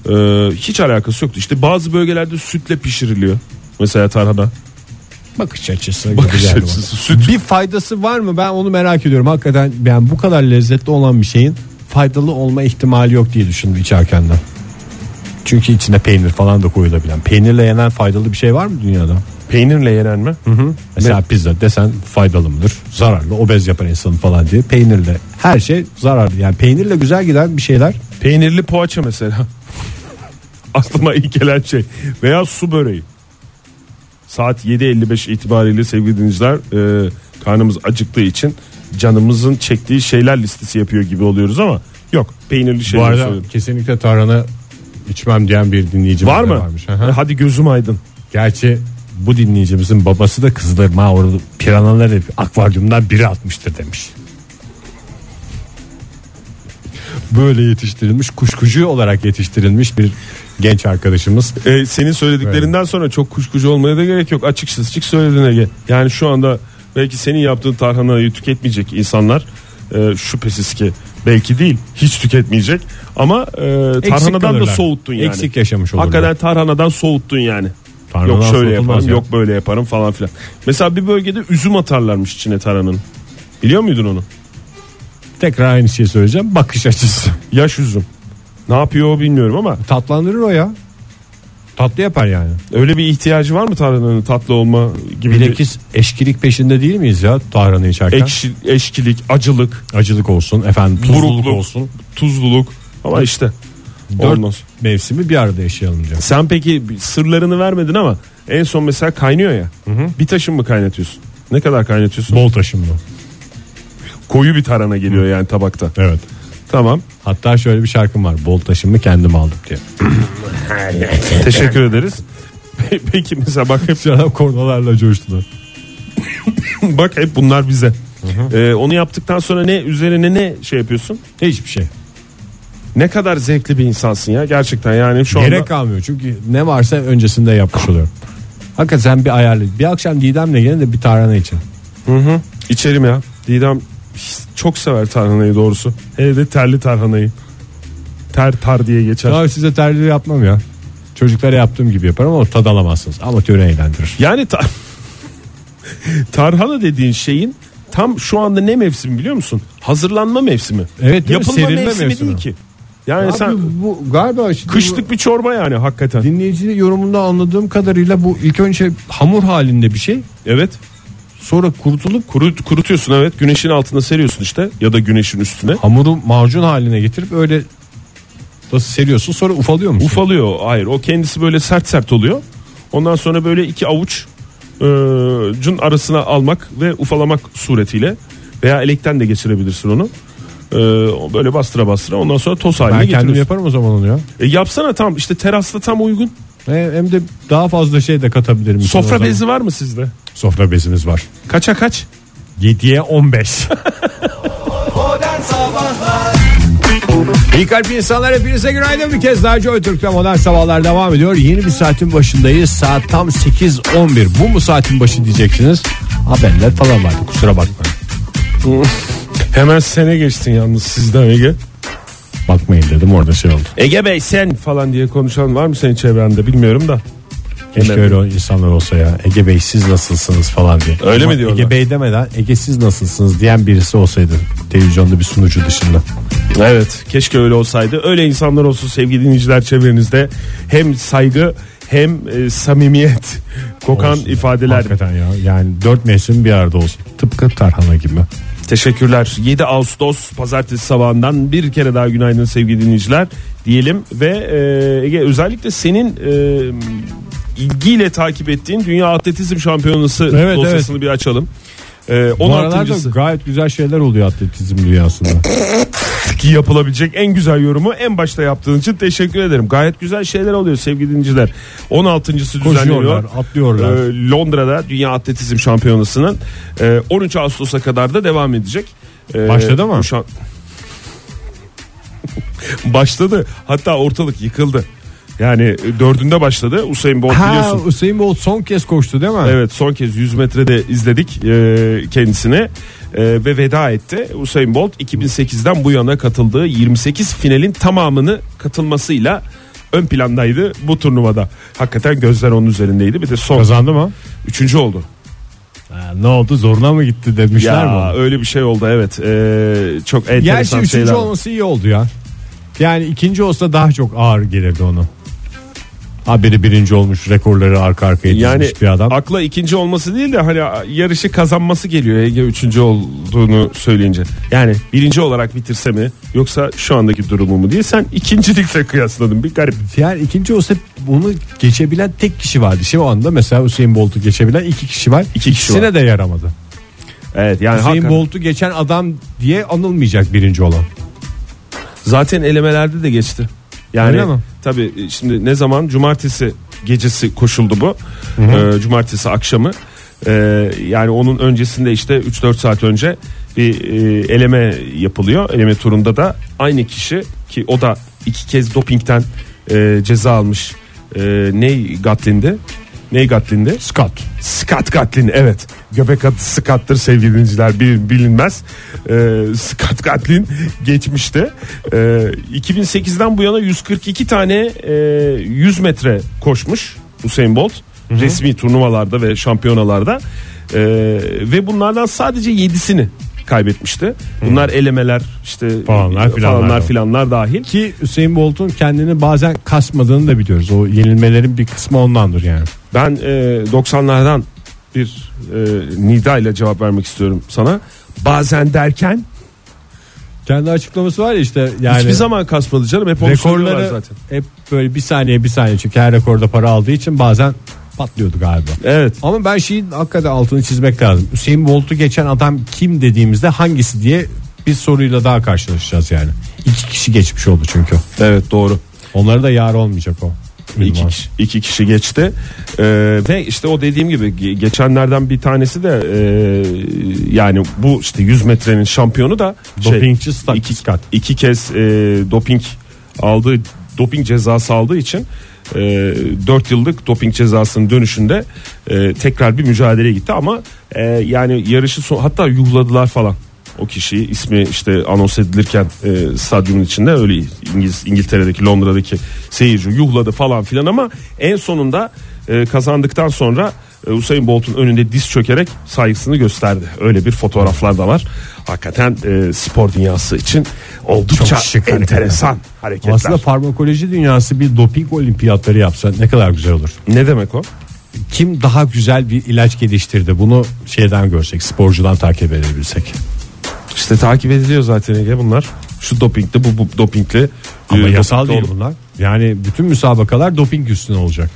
[SPEAKER 3] Ee, hiç alakası yoktu. İşte bazı bölgelerde sütle pişiriliyor. Mesela tarhana.
[SPEAKER 2] bakış açısı. gibi
[SPEAKER 3] Bakış
[SPEAKER 2] geldi
[SPEAKER 3] açısı
[SPEAKER 2] bana.
[SPEAKER 3] süt.
[SPEAKER 2] Bir faydası var mı? Ben onu merak ediyorum. Hakikaten yani bu kadar lezzetli olan bir şeyin faydalı olma ihtimali yok diye düşündüm içerken de. Çünkü içine peynir falan da koyulabilen. Peynirle yenen faydalı bir şey var mı dünyada?
[SPEAKER 3] Peynirle yenen mi?
[SPEAKER 2] Mesela pizza desen faydalı mıdır? Zararlı, obez yapar insanı falan diye. Peynirle her şey zararlı. Yani peynirle güzel giden bir şeyler
[SPEAKER 3] Peynirli poğaça mesela. Aklıma ilk gelen şey. Veya su böreği. Saat 7.55 itibariyle sevgili dinleyiciler e, karnımız acıktığı için canımızın çektiği şeyler listesi yapıyor gibi oluyoruz ama yok peynirli
[SPEAKER 2] Bu
[SPEAKER 3] şeyler
[SPEAKER 2] arada
[SPEAKER 3] söylüyorum.
[SPEAKER 2] kesinlikle şey tarhana içmem diyen bir dinleyicimiz
[SPEAKER 3] Var
[SPEAKER 2] de
[SPEAKER 3] mı?
[SPEAKER 2] Varmış. Aha.
[SPEAKER 3] E, Hadi gözüm aydın.
[SPEAKER 2] Gerçi bu dinleyicimizin babası da kızdırma orada piranaları akvaryumdan biri atmıştır demiş. Böyle yetiştirilmiş kuşkucu olarak yetiştirilmiş bir genç arkadaşımız.
[SPEAKER 3] E, senin söylediklerinden sonra çok kuşkucu olmaya da gerek yok. Açık açık söyledin Ege. Yani şu anda belki senin yaptığın tarhanayı tüketmeyecek insanlar e, şüphesiz ki belki değil hiç tüketmeyecek ama e, tarhanadan da
[SPEAKER 2] kalırlar.
[SPEAKER 3] soğuttun yani.
[SPEAKER 2] Eksik yaşamış olurlar.
[SPEAKER 3] Hakikaten tarhanadan soğuttun yani.
[SPEAKER 2] Tarhanadan
[SPEAKER 3] yok şöyle
[SPEAKER 2] soğutulmaz
[SPEAKER 3] yaparım,
[SPEAKER 2] ya.
[SPEAKER 3] yok böyle yaparım falan filan. Mesela bir bölgede üzüm atarlarmış içine tarhananın. Biliyor muydun onu?
[SPEAKER 2] Tekrar aynı şeyi söyleyeceğim. Bakış açısı.
[SPEAKER 3] Yaş üzüm. Ne yapıyor o bilmiyorum ama
[SPEAKER 2] Tatlandırır o ya. Tatlı yapar yani.
[SPEAKER 3] öyle bir ihtiyacı var mı tarhananın tatlı olma gibi bir
[SPEAKER 2] Bilakis eşkilik peşinde değil miyiz ya tarhana içerken?
[SPEAKER 3] ekşi, eşkilik, acılık,
[SPEAKER 2] Acılık olsun efendim tuzluluk
[SPEAKER 3] Burukluk.
[SPEAKER 2] olsun.
[SPEAKER 3] tuzluluk ama işte
[SPEAKER 2] Dört
[SPEAKER 3] olmaz.
[SPEAKER 2] mevsimi bir arada yaşayalım diyor.
[SPEAKER 3] Sen peki sırlarını vermedin ama en son mesela kaynıyor ya. Bir taşın mı kaynatıyorsun? Ne kadar kaynatıyorsun?
[SPEAKER 2] Bol taşımlı.
[SPEAKER 3] Koyu bir tarhana geliyor yani tabakta.
[SPEAKER 2] Evet.
[SPEAKER 3] Tamam.
[SPEAKER 2] Hatta şöyle bir şarkım var. Bol taşımı kendim aldım diye.
[SPEAKER 3] Teşekkür ederiz. Pe- Peki mesela bak hep
[SPEAKER 2] Canım kornalarla coştular.
[SPEAKER 3] bak hep bunlar bize. Ee, onu yaptıktan sonra ne üzerine ne şey yapıyorsun?
[SPEAKER 2] Hiçbir şey.
[SPEAKER 3] Ne kadar zevkli bir insansın ya gerçekten yani şu anda
[SPEAKER 2] Gerek kalmıyor çünkü ne varsa öncesinde yapmış oluyor. Hakikaten bir ayarlı. Bir akşam Didem'le gelin de bir tarhana için.
[SPEAKER 3] içerim ya. Didem çok sever tarhanayı doğrusu. Hele de terli tarhanayı. Ter tar diye geçer.
[SPEAKER 2] Ya size tercih yapmam ya. Çocuklara yaptığım gibi yaparım ama tad alamazsınız. Ama töre eğlendirir.
[SPEAKER 3] Yani ta- tarhana dediğin şeyin tam şu anda ne mevsimi biliyor musun? Hazırlanma mevsimi.
[SPEAKER 2] Evet, değil mi?
[SPEAKER 3] Yapılma
[SPEAKER 2] Serilme
[SPEAKER 3] mevsimi,
[SPEAKER 2] mevsimi.
[SPEAKER 3] değil ki. Yani
[SPEAKER 2] Abi
[SPEAKER 3] sen
[SPEAKER 2] bu galiba şimdi
[SPEAKER 3] kışlık bir çorba yani hakikaten.
[SPEAKER 2] bu dinleyici yorumunda anladığım kadarıyla bu ilk önce hamur halinde bir şey.
[SPEAKER 3] Evet.
[SPEAKER 2] Sonra kurutulup
[SPEAKER 3] Kuru, kurutuyorsun evet. Güneşin altına seriyorsun işte ya da güneşin üstüne.
[SPEAKER 2] hamuru macun haline getirip öyle nasıl seriyorsun sonra ufalıyor musun?
[SPEAKER 3] Ufalıyor. Hayır, o kendisi böyle sert sert oluyor. Ondan sonra böyle iki avuç e, cun arasına almak ve ufalamak suretiyle veya elekten de geçirebilirsin onu. E, böyle bastıra bastıra ondan sonra toz haline
[SPEAKER 2] ben kendim
[SPEAKER 3] getiriyorsun.
[SPEAKER 2] yaparım o zaman onu ya.
[SPEAKER 3] E yapsana tam işte terasta tam uygun.
[SPEAKER 2] E, hem de daha fazla şey de katabilirim. içine o
[SPEAKER 3] Sofra
[SPEAKER 2] zaman.
[SPEAKER 3] bezi var mı sizde?
[SPEAKER 2] Sofra bezimiz var.
[SPEAKER 3] Kaça kaç?
[SPEAKER 2] 7'ye 15.
[SPEAKER 4] Modern Sabahlar
[SPEAKER 2] İyi kalp insanlar hepinize günaydın bir kez daha Joy Türk'te modern sabahlar devam ediyor. Yeni bir saatin başındayız. Saat tam 8.11. Bu mu saatin başı diyeceksiniz. Haberler falan vardı kusura bakmayın.
[SPEAKER 3] Hemen sene geçtin yalnız sizden Ege.
[SPEAKER 2] Bakmayın dedim orada şey oldu.
[SPEAKER 3] Ege Bey sen falan diye konuşan var mı senin çevrende bilmiyorum da.
[SPEAKER 2] Keşke
[SPEAKER 3] Hemen.
[SPEAKER 2] öyle o insanlar olsa ya. Ege Bey siz nasılsınız falan diye.
[SPEAKER 3] Öyle
[SPEAKER 2] Ama
[SPEAKER 3] mi diyorlar?
[SPEAKER 2] Ege Bey demeden Ege siz nasılsınız diyen birisi olsaydı. Televizyonda bir sunucu dışında.
[SPEAKER 3] Evet keşke öyle olsaydı. Öyle insanlar olsun sevgili dinleyiciler çevrenizde. Hem saygı hem e, samimiyet kokan
[SPEAKER 2] Olsun.
[SPEAKER 3] ifadeler.
[SPEAKER 2] Hakikaten ya. Yani dört mevsim bir arada olsun. Tıpkı tarhana gibi.
[SPEAKER 3] Teşekkürler. 7 Ağustos pazartesi sabahından bir kere daha günaydın sevgili dinleyiciler diyelim ve e, Ege özellikle senin e, ilgiyle takip ettiğin Dünya Atletizm Şampiyonası
[SPEAKER 2] Evet,
[SPEAKER 3] dosyasını bir açalım. E,
[SPEAKER 2] Bu aralar
[SPEAKER 3] 16.sı
[SPEAKER 2] da gayet güzel şeyler oluyor atletizm dünyasında.
[SPEAKER 3] ki yapılabilecek en güzel yorumu en başta yaptığın için teşekkür ederim. Gayet güzel şeyler oluyor sevgili dinleyiciler. 16.sı düzenleniyor.
[SPEAKER 2] Koşuyorlar, atlıyorlar.
[SPEAKER 3] E, Londra'da Dünya Atletizm Şampiyonası'nın e, 13 Ağustos'a kadar da devam edecek. E,
[SPEAKER 2] Başladı mı?
[SPEAKER 3] bu şan- Başladı. Hatta ortalık yıkıldı. Yani e, dördünde başladı. Usain Bolt
[SPEAKER 2] ha
[SPEAKER 3] biliyorsun.
[SPEAKER 2] Usain Bolt son kez koştu değil mi?
[SPEAKER 3] Evet son kez 100 metrede izledik e, kendisini e, ve veda etti. Usain Bolt 2008'den bu yana katıldığı 28 finalin tamamını katılmasıyla ön plandaydı bu turnuvada. Hakikaten gözler onun üzerindeydi. Bir de son
[SPEAKER 2] Kazandı mı?
[SPEAKER 3] üçüncü oldu.
[SPEAKER 2] Ha, ne oldu zoruna mı gitti demişler mi?
[SPEAKER 3] Ya
[SPEAKER 2] ona?
[SPEAKER 3] öyle bir şey oldu evet. E, çok
[SPEAKER 2] Gerçi
[SPEAKER 3] enteresan
[SPEAKER 2] üçüncü
[SPEAKER 3] şeyler. var.
[SPEAKER 2] olması iyi oldu ya. Yani ikinci olsa daha çok ağır gelirdi ona. Haberi birinci olmuş rekorları arka arkaya dizmiş
[SPEAKER 3] Yani
[SPEAKER 2] bir adam.
[SPEAKER 3] akla ikinci olması değil de hani yarışı kazanması geliyor Ege üçüncü olduğunu söyleyince. Yani birinci olarak bitirse mi yoksa şu andaki durumu mu diye sen ikincilikle kıyasladın bir garip.
[SPEAKER 2] Yani ikinci olsa bunu geçebilen tek kişi vardı. Şimdi o anda mesela Usain Bolt'u geçebilen iki kişi var.
[SPEAKER 3] İki kişi
[SPEAKER 2] İkisine
[SPEAKER 3] var.
[SPEAKER 2] de yaramadı.
[SPEAKER 3] Evet yani
[SPEAKER 2] Usain
[SPEAKER 3] hakikaten-
[SPEAKER 2] Bolt'u geçen adam diye anılmayacak birinci olan.
[SPEAKER 3] zaten elemelerde de geçti. Yani
[SPEAKER 2] Öyle mi?
[SPEAKER 3] tabii e, şimdi ne zaman cumartesi gecesi koşuldu bu. Ee, cumartesi akşamı. Ee, yani onun öncesinde işte 3-4 saat önce bir e, eleme yapılıyor. Eleme turunda da aynı kişi ki o da iki kez dopingten e, ceza almış. E, ney Gatlin'di? Ney Gatlin'di?
[SPEAKER 2] Scott.
[SPEAKER 3] Scott Gatlin evet. Göbek adı Scott'tır sevgili dinleyiciler bil- bilinmez. Ee, Scott Gatlin geçmişte ee, 2008'den bu yana 142 tane ee, 100 metre koşmuş Usain Bolt. Resmi turnuvalarda ve şampiyonalarda. Ee, ve bunlardan sadece 7'sini kaybetmişti. Bunlar elemeler işte
[SPEAKER 2] Falanlar, filanlar
[SPEAKER 3] falanlar
[SPEAKER 2] da.
[SPEAKER 3] filanlar dahil.
[SPEAKER 2] Ki Hüseyin Bolt'un kendini bazen kasmadığını da biliyoruz. O yenilmelerin bir kısmı ondandır yani.
[SPEAKER 3] Ben e, 90'lardan bir e, nida ile cevap vermek istiyorum sana. Bazen derken
[SPEAKER 2] Kendi açıklaması var ya işte yani.
[SPEAKER 3] hiçbir zaman kasmadı canım. Hep onu söylüyorlar
[SPEAKER 2] rekorları
[SPEAKER 3] zaten.
[SPEAKER 2] hep böyle bir saniye bir saniye çünkü her rekorda para aldığı için bazen patlıyordu galiba.
[SPEAKER 3] Evet.
[SPEAKER 2] Ama ben şeyin hakikaten altını çizmek lazım. Hüseyin Bolt'u geçen adam kim dediğimizde hangisi diye bir soruyla daha karşılaşacağız yani. İki kişi geçmiş oldu çünkü.
[SPEAKER 3] Evet doğru.
[SPEAKER 2] Onlara da yar olmayacak o.
[SPEAKER 3] İki kişi, iki kişi geçti Ee, ve işte o dediğim gibi ge- geçenlerden bir tanesi de e, yani bu işte 100 metrenin şampiyonu da şey,
[SPEAKER 2] Dopingçi Scott.
[SPEAKER 3] iki, iki kez e, doping aldığı doping cezası aldığı için e, 4 yıllık doping cezasının dönüşünde e, tekrar bir mücadeleye gitti ama e, yani yarışı son, hatta yuhladılar falan o kişiyi ismi işte anons edilirken e, stadyumun içinde öyle İngiliz İngiltere'deki Londra'daki seyirci yuhladı falan filan ama en sonunda e, kazandıktan sonra e, Usain Bolt'un önünde diz çökerek saygısını gösterdi. Öyle bir fotoğraflar da var. Hakikaten e, spor dünyası için oldukça
[SPEAKER 2] Çok şık hareketler.
[SPEAKER 3] enteresan hareketler.
[SPEAKER 2] Aslında farmakoloji dünyası bir doping olimpiyatları yapsa ne kadar güzel olur.
[SPEAKER 3] ne demek o?
[SPEAKER 2] Kim daha güzel bir ilaç geliştirdi bunu şeyden görsek sporcudan takip edebilsek.
[SPEAKER 3] İşte takip ediliyor zaten Ege bunlar. Şu dopingli bu, bu dopingli.
[SPEAKER 2] Ama
[SPEAKER 3] e,
[SPEAKER 2] yasal
[SPEAKER 3] dopingli
[SPEAKER 2] değil
[SPEAKER 3] olup-
[SPEAKER 2] bunlar. Yani bütün müsabakalar doping üstüne olacak.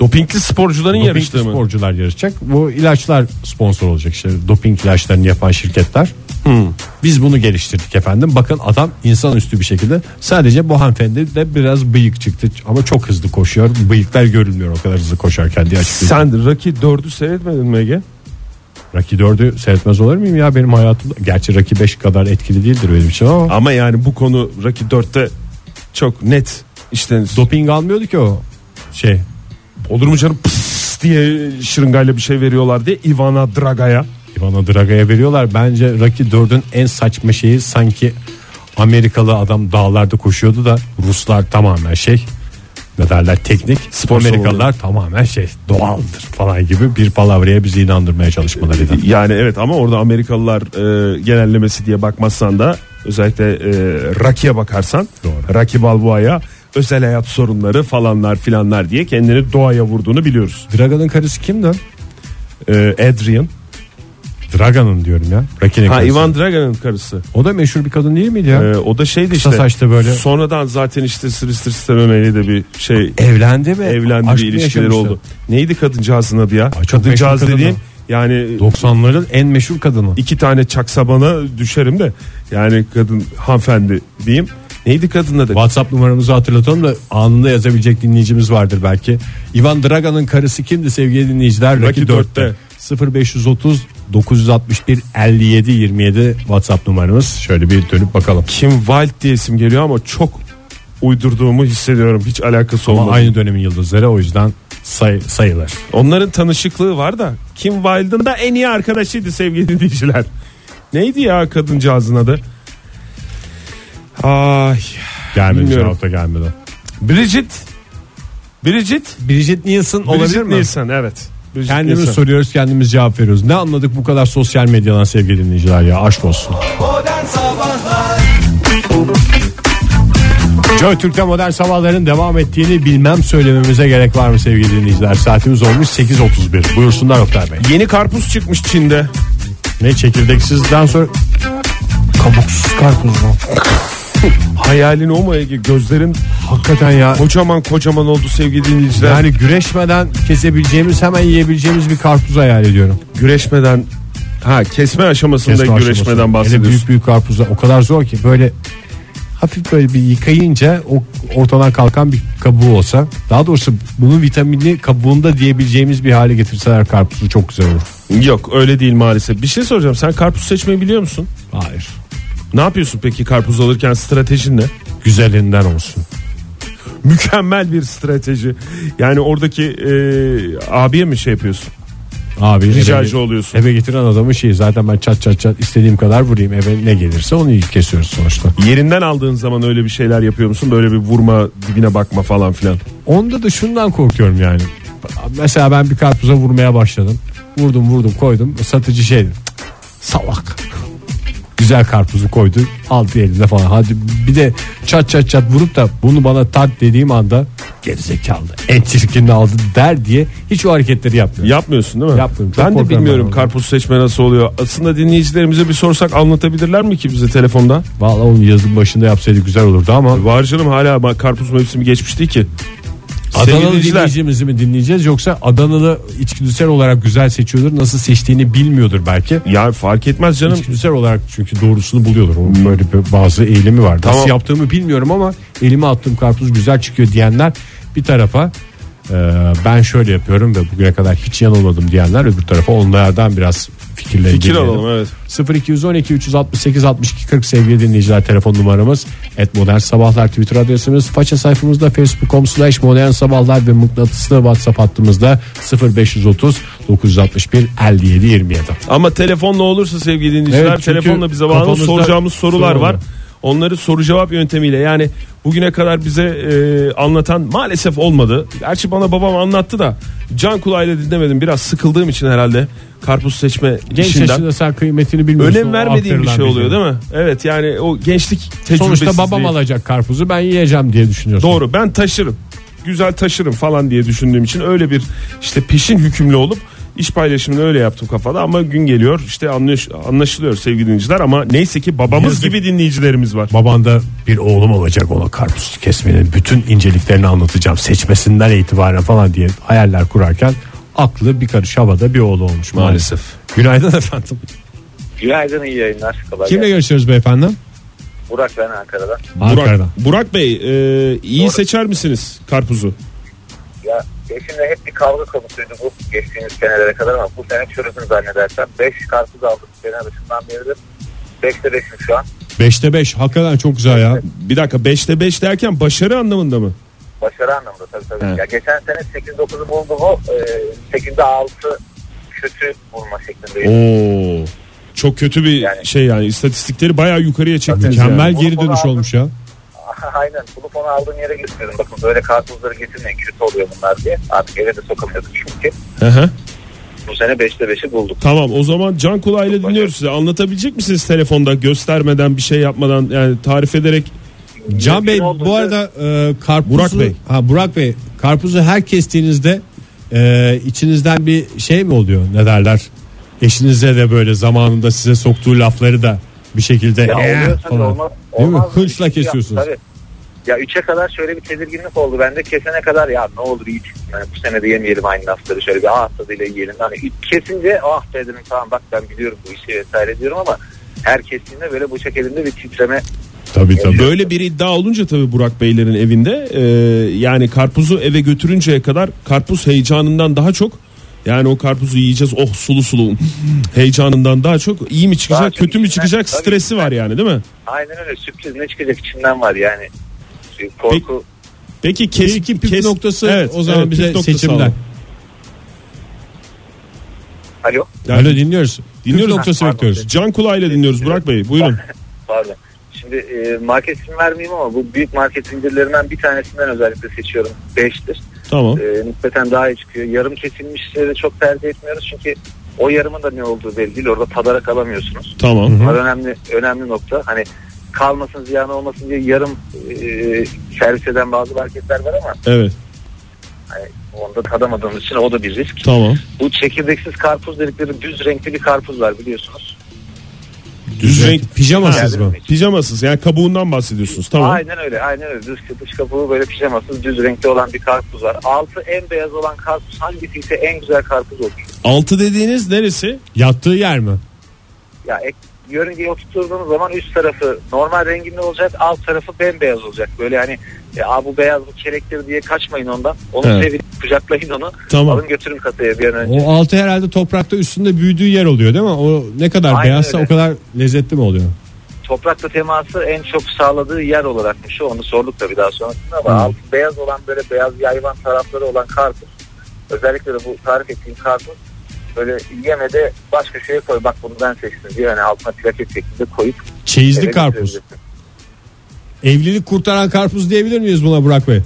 [SPEAKER 3] Dopingli sporcuların
[SPEAKER 2] Doping
[SPEAKER 3] yarıştığı mı?
[SPEAKER 2] sporcular yarışacak. Bu ilaçlar sponsor olacak işte doping ilaçlarını yapan şirketler. Biz bunu geliştirdik efendim. Bakın adam insanüstü bir şekilde sadece bu hanımefendi de biraz bıyık çıktı ama çok hızlı koşuyor. Bıyıklar görülmüyor o kadar hızlı koşarken diye açıklayayım.
[SPEAKER 3] Sen Rocky 4'ü seyretmedin mi Ege?
[SPEAKER 2] Rocky 4'ü seyretmez olur muyum ya benim hayatımda? Gerçi Rocky 5 kadar etkili değildir benim için ama
[SPEAKER 3] Ama yani bu konu Rocky 4'te çok net işte
[SPEAKER 2] doping almıyordu ki o şey.
[SPEAKER 3] olur mu canım pıs diye şırıngayla bir şey veriyorlar diye Ivana Draga'ya.
[SPEAKER 2] Ivana Draga'ya veriyorlar. Bence Rocky 4'ün en saçma şeyi sanki Amerikalı adam dağlarda koşuyordu da Ruslar tamamen şey ne derler teknik
[SPEAKER 3] Spor salonu.
[SPEAKER 2] Amerikalılar tamamen şey doğaldır falan gibi bir palavraya bizi inandırmaya çalışmalarıydı.
[SPEAKER 3] Yani evet ama orada Amerikalılar e, genellemesi diye bakmazsan da özellikle e, Rocky'e bakarsan
[SPEAKER 2] Doğru.
[SPEAKER 3] Rocky Balboa'ya özel hayat sorunları falanlar filanlar diye kendini doğaya vurduğunu biliyoruz.
[SPEAKER 2] Dragan'ın karısı kimdi?
[SPEAKER 3] E, Adrian.
[SPEAKER 2] Dragan'ın diyorum ya. Rocky'nin
[SPEAKER 3] Ha
[SPEAKER 2] karısı.
[SPEAKER 3] Ivan Dragan'ın karısı.
[SPEAKER 2] O da meşhur bir kadın değil miydi ya?
[SPEAKER 3] E, o da şeydi
[SPEAKER 2] Kısa
[SPEAKER 3] işte.
[SPEAKER 2] saçlı böyle.
[SPEAKER 3] Sonradan zaten işte Sylvester Stallone'yle de bir şey
[SPEAKER 2] evlendi mi?
[SPEAKER 3] evlendi
[SPEAKER 2] E, Aşk
[SPEAKER 3] bir
[SPEAKER 2] mı
[SPEAKER 3] ilişkileri
[SPEAKER 2] yaşamıştı?
[SPEAKER 3] oldu. Neydi kadıncağızın adı ya?
[SPEAKER 2] Ay, çok
[SPEAKER 3] kadıncağız
[SPEAKER 2] meşhur kadın
[SPEAKER 3] dediğim
[SPEAKER 2] o.
[SPEAKER 3] yani
[SPEAKER 2] 90'ların en meşhur kadını.
[SPEAKER 3] iki tane çaksabana düşerim de yani kadın hanımefendi diyeyim. Neydi kadın adı?
[SPEAKER 2] WhatsApp numaramızı hatırlatalım da anında yazabilecek dinleyicimiz vardır belki. Ivan Dragan'ın karısı kimdi sevgili dinleyiciler? Rocky
[SPEAKER 3] Rocky
[SPEAKER 2] 4'te. 0530 961 57 27 WhatsApp numaramız. Şöyle bir dönüp bakalım.
[SPEAKER 3] Kim Wild diye isim geliyor ama çok uydurduğumu hissediyorum. Hiç alakası
[SPEAKER 2] Ama
[SPEAKER 3] olmadı.
[SPEAKER 2] aynı dönemin yıldızları o yüzden say- sayılır.
[SPEAKER 3] Onların tanışıklığı var da Kim Wild'ın da en iyi arkadaşıydı sevgili dinleyiciler. Neydi ya kadıncağızın adı? Ay.
[SPEAKER 2] Gelmedi
[SPEAKER 3] Bilmiyorum.
[SPEAKER 2] cevap da gelmedi.
[SPEAKER 3] Bridget. Bridget.
[SPEAKER 2] Bridget Nielsen olabilir
[SPEAKER 3] Bridget
[SPEAKER 2] mi?
[SPEAKER 3] Nielsen, evet. Bridget
[SPEAKER 2] Kendimiz
[SPEAKER 3] Nielsen.
[SPEAKER 2] soruyoruz kendimiz cevap veriyoruz. Ne anladık bu kadar sosyal medyadan sevgili dinleyiciler ya aşk olsun.
[SPEAKER 4] Modern Sabahlar
[SPEAKER 2] Joy Türk'te modern sabahların devam ettiğini bilmem söylememize gerek var mı sevgili dinleyiciler? Saatimiz olmuş 8.31. Buyursunlar Oktay Bey.
[SPEAKER 3] Yeni karpuz çıkmış Çin'de.
[SPEAKER 2] Ne çekirdeksizden sonra kabuksuz karpuz mu?
[SPEAKER 3] Hayalin o mu Ege? Gözlerin
[SPEAKER 2] Hakikaten ya.
[SPEAKER 3] kocaman kocaman oldu sevgili dinleyiciler.
[SPEAKER 2] Yani güreşmeden kesebileceğimiz hemen yiyebileceğimiz bir karpuz hayal ediyorum.
[SPEAKER 3] güreşmeden ha kesme aşamasında
[SPEAKER 2] Kesme
[SPEAKER 3] güreşmeden
[SPEAKER 2] aşamasında. Hele
[SPEAKER 3] bahsediyorsun.
[SPEAKER 2] Büyük büyük karpuzlar o kadar zor ki böyle hafif böyle bir yıkayınca o ortadan kalkan bir kabuğu olsa daha doğrusu bunun vitaminli kabuğunda diyebileceğimiz bir hale getirseler karpuzu çok güzel olur.
[SPEAKER 3] Yok öyle değil maalesef. Bir şey soracağım. Sen karpuz seçmeyi biliyor musun?
[SPEAKER 2] Hayır.
[SPEAKER 3] Ne yapıyorsun peki karpuz alırken stratejin ne?
[SPEAKER 2] Güzelinden olsun.
[SPEAKER 3] Mükemmel bir strateji. Yani oradaki e, abiye mi şey yapıyorsun?
[SPEAKER 2] Abi
[SPEAKER 3] Ricacı
[SPEAKER 2] eve,
[SPEAKER 3] oluyorsun.
[SPEAKER 2] eve getiren adamın şeyi zaten ben çat çat çat istediğim kadar vurayım eve ne gelirse onu kesiyoruz sonuçta.
[SPEAKER 3] Yerinden aldığın zaman öyle bir şeyler yapıyor musun? Böyle bir vurma dibine bakma falan filan.
[SPEAKER 2] Onda da şundan korkuyorum yani. Mesela ben bir karpuza vurmaya başladım. Vurdum vurdum koydum. Satıcı şey dedi, "Cık, salak. Güzel karpuzu koydu. Aldı elinde falan. Hadi bir de çat çat çat vurup da bunu bana tat dediğim anda gerizekalı en çirkinini aldı der diye hiç o hareketleri yapmıyor.
[SPEAKER 3] Yapmıyorsun değil mi?
[SPEAKER 2] Yapmıyorum. Çok
[SPEAKER 3] Ben de
[SPEAKER 2] korkarım
[SPEAKER 3] bilmiyorum
[SPEAKER 2] ben ondan.
[SPEAKER 3] karpuz seçme nasıl oluyor. Aslında dinleyicilerimize bir sorsak anlatabilirler mi ki bize telefonda?
[SPEAKER 2] Vallahi onu yazın başında yapsaydı güzel olurdu ama
[SPEAKER 3] Var canım hala ma- karpuz mevsimi geçmiş değil ki. Sevgili
[SPEAKER 2] Adanalı
[SPEAKER 3] dinleyiciler,
[SPEAKER 2] dinleyicimizi mi dinleyeceğiz yoksa Adanalı içgüdüsel olarak güzel seçiyordur nasıl seçtiğini bilmiyordur belki.
[SPEAKER 3] Ya fark etmez canım.
[SPEAKER 2] İçgüdüsel olarak çünkü doğrusunu buluyorlar. Onun böyle bir bazı eğilimi var.
[SPEAKER 3] Tamam.
[SPEAKER 2] Nasıl yaptığımı bilmiyorum ama elime attığım karpuz güzel çıkıyor diyenler bir tarafa e, ben şöyle yapıyorum ve bugüne kadar hiç yanılmadım diyenler öbür tarafa onlardan biraz fikirlerini
[SPEAKER 3] Fikir
[SPEAKER 2] dinleyelim.
[SPEAKER 3] alalım evet.
[SPEAKER 2] 0212 368 62 40 sevgili dinleyiciler telefon numaramız et modern sabahlar twitter adresimiz faça sayfamızda facebook.com slash modern sabahlar ve mıknatıslı whatsapp hattımızda 0530 961 57 27
[SPEAKER 3] Ama telefonla olursa sevgili dinleyiciler
[SPEAKER 2] Evet, çünkü
[SPEAKER 3] telefonla bize bağlı
[SPEAKER 2] kafamızda
[SPEAKER 3] soracağımız sorular
[SPEAKER 2] soru
[SPEAKER 3] var.
[SPEAKER 2] var.
[SPEAKER 3] Onları soru cevap yöntemiyle yani bugüne kadar bize e, anlatan maalesef olmadı. Gerçi bana babam anlattı da can kulağıyla dinlemedim. Biraz sıkıldığım için herhalde karpuz seçme
[SPEAKER 2] Genç
[SPEAKER 3] işinden.
[SPEAKER 2] yaşında sen kıymetini bilmiyorsun.
[SPEAKER 3] Önem
[SPEAKER 2] O
[SPEAKER 3] vermediğim bir
[SPEAKER 2] aktarılan
[SPEAKER 3] şey oluyor değil mi? Evet yani o gençlik tecrübesizliği.
[SPEAKER 2] Sonuçta babam alacak karpuzu ben yiyeceğim diye düşünüyorsun.
[SPEAKER 3] Doğru ben taşırım. Güzel taşırım falan diye düşündüğüm için öyle bir işte peşin hükümlü olup iş paylaşımını öyle yaptım kafada ama gün geliyor işte anlaş, anlaşılıyor sevgili dinleyiciler ama neyse ki babamız
[SPEAKER 2] Yazık.
[SPEAKER 3] gibi dinleyicilerimiz var.
[SPEAKER 2] Baban da bir oğlum olacak ona karpuz kesmenin bütün inceliklerini anlatacağım seçmesinden itibaren falan diye hayaller kurarken aklı bir karış havada bir oğlu olmuş maalesef. Günaydın efendim.
[SPEAKER 5] Günaydın iyi yayınlar. Kolay
[SPEAKER 2] Kimle
[SPEAKER 5] gelsin.
[SPEAKER 2] görüşüyoruz beyefendi?
[SPEAKER 5] Burak ben Ankara'dan.
[SPEAKER 3] Burak,
[SPEAKER 2] Ankara'dan.
[SPEAKER 3] Burak Bey e, iyi seçer misiniz karpuzu?
[SPEAKER 5] Ya eşimle hep bir kavga konusuydu bu geçtiğimiz senelere kadar ama bu sene çözüm zannedersem 5 karpuz aldım sene başından beridir. 5'te 5'im şu an.
[SPEAKER 2] 5'te 5 hakikaten çok güzel ya.
[SPEAKER 3] Bir dakika 5'te 5 derken başarı anlamında mı?
[SPEAKER 5] Başarı anlamında tabii tabii. Ya geçen sene 8-9'u buldu bu. Ee, 8'de 6 kötü bulma şeklindeyim.
[SPEAKER 3] Oo. Çok kötü bir
[SPEAKER 5] Yani-
[SPEAKER 3] şey yani istatistikleri bayağı yukarıya çekmiş.
[SPEAKER 2] Mükemmel
[SPEAKER 3] Mükemmel.
[SPEAKER 2] geri dönüş olmuş ya.
[SPEAKER 5] Aynen. Bulup onu aldığım yere getirdim. Bakın böyle karpuzları getirmeyin kötü oluyor bunlar diye. Artık eve de sokamıyorduk çünkü.
[SPEAKER 3] Hı hı.
[SPEAKER 5] Bu sene 5'te 5'i bulduk.
[SPEAKER 3] Tamam o zaman can kulağıyla dinliyoruz size. Anlatabilecek misiniz telefonda göstermeden bir şey yapmadan yani tarif ederek
[SPEAKER 2] Can Bey
[SPEAKER 5] Mümkün
[SPEAKER 2] bu
[SPEAKER 5] olduğunca-
[SPEAKER 2] arada e, karpuzu
[SPEAKER 3] Burak Bey.
[SPEAKER 2] Ha Burak Bey karpuzu her kestiğinizde e, içinizden bir şey mi oluyor ne derler? Eşinize de böyle zamanında size soktuğu lafları da bir şekilde
[SPEAKER 5] Ya
[SPEAKER 2] "Eh!"
[SPEAKER 5] oluyor tabii
[SPEAKER 2] falan.
[SPEAKER 5] olmaz.
[SPEAKER 2] Değil mi?
[SPEAKER 5] olmaz.
[SPEAKER 2] Hınçla
[SPEAKER 5] Ya,
[SPEAKER 2] kesiyorsunuz.
[SPEAKER 5] tabii. Ya 3'e kadar şöyle bir tedirginlik oldu. Ben de kesene kadar ya ne olur iyi çıksın. Hani bu sene de yemeyelim aynı lafları. Şöyle bir ağız tadıyla yiyelim. Hani ilk kesince ah dedim tamam bak ben biliyorum bu işi vesaire diyorum ama her kestiğinde böyle bıçak elinde bir titreme.
[SPEAKER 2] Tabii tabii.
[SPEAKER 3] böyle bir iddia olunca tabii Burak Beylerin evinde e, yani karpuzu eve götürünceye kadar karpuz heyecanından daha çok yani o karpuzu yiyeceğiz oh sulu sulu heyecanından daha çok iyi mi
[SPEAKER 5] Daha
[SPEAKER 3] çıkacak
[SPEAKER 5] çok
[SPEAKER 3] kötü mü
[SPEAKER 5] içinden-
[SPEAKER 3] çıkacak
[SPEAKER 5] tabii.
[SPEAKER 3] stresi var yani değil mi?
[SPEAKER 5] Aynen öyle sürpriz ne çıkacak içinden var yani. Bir Korku.
[SPEAKER 3] Peki
[SPEAKER 2] Bir
[SPEAKER 3] kes,
[SPEAKER 2] iki püf
[SPEAKER 3] kes-
[SPEAKER 2] noktası
[SPEAKER 3] Evet,
[SPEAKER 2] o zaman
[SPEAKER 3] evet, püf
[SPEAKER 2] bize
[SPEAKER 3] noktası
[SPEAKER 2] seçimler.
[SPEAKER 3] alalım.
[SPEAKER 5] Alo
[SPEAKER 3] Yani
[SPEAKER 2] Öyle dinliyoruz.
[SPEAKER 3] Dinliyoruz.
[SPEAKER 2] Püf noktası
[SPEAKER 5] Ha, pardon.
[SPEAKER 2] bekliyoruz.
[SPEAKER 3] Can kulağıyla dinliyoruz Burak Bey buyurun.
[SPEAKER 5] pardon. Şimdi e, market ismi vermeyeyim ama bu büyük market zincirlerinden bir tanesinden özellikle seçiyorum. 5'tir.
[SPEAKER 3] Tamam.
[SPEAKER 5] e, nispeten daha iyi çıkıyor. Yarım kesilmişleri de çok tercih etmiyoruz çünkü o yarımın da ne olduğu belli değil. Orada tadarak alamıyorsunuz.
[SPEAKER 3] Tamam.
[SPEAKER 5] Bunlar önemli önemli nokta. Hani kalmasın ziyan olmasın diye yarım e, servis eden bazı marketler var ama
[SPEAKER 3] Evet.
[SPEAKER 5] hani onda tadamadığımız için o da bir risk.
[SPEAKER 3] Tamam.
[SPEAKER 5] Bu çekirdeksiz karpuz dedikleri düz renkli bir karpuz var biliyorsunuz.
[SPEAKER 3] Düz renk
[SPEAKER 2] pijamasız
[SPEAKER 5] Yani-
[SPEAKER 2] mı?
[SPEAKER 3] pijamasız yani kabuğundan bahsediyorsunuz. Tamam.
[SPEAKER 5] Aynen öyle aynen öyle. Dış, dış kabuğu böyle pijamasız düz renkli olan bir karpuz var. Altı en beyaz olan karpuz hangisi ise en güzel karpuz olur.
[SPEAKER 3] Altı dediğiniz neresi?
[SPEAKER 2] Yattığı yer mi?
[SPEAKER 5] Ya ek, yörüngeye oturttuğunuz zaman üst tarafı normal renginde olacak alt tarafı bembeyaz olacak. Böyle hani ya "Aa, bu beyaz bu çelektir diye kaçmayın ondan. Onu
[SPEAKER 3] Evet.
[SPEAKER 5] sevin kucaklayın onu.
[SPEAKER 2] Tamam.
[SPEAKER 5] Alın götürün kasaya bir an önce.
[SPEAKER 2] O altı herhalde toprakta üstünde büyüdüğü yer oluyor değil mi? O ne kadar
[SPEAKER 5] Aynen
[SPEAKER 2] beyazsa
[SPEAKER 5] öyle.
[SPEAKER 2] o kadar lezzetli mi oluyor?
[SPEAKER 5] Toprakla teması en çok sağladığı yer olarakmış. o. Onu sorduk tabii daha sonrasında ama altı beyaz olan böyle beyaz yayvan tarafları olan karpuz. Özellikle de bu tarif ettiğim karpuz böyle yemede baş köşeye koy bak bunu ben seçtim diye hani altına plaket şeklinde koyup
[SPEAKER 2] Çeyizli
[SPEAKER 5] eve
[SPEAKER 2] karpuz.
[SPEAKER 5] götürebilirsin.
[SPEAKER 2] Evlilik kurtaran karpuz diyebilir miyiz buna Burak Bey?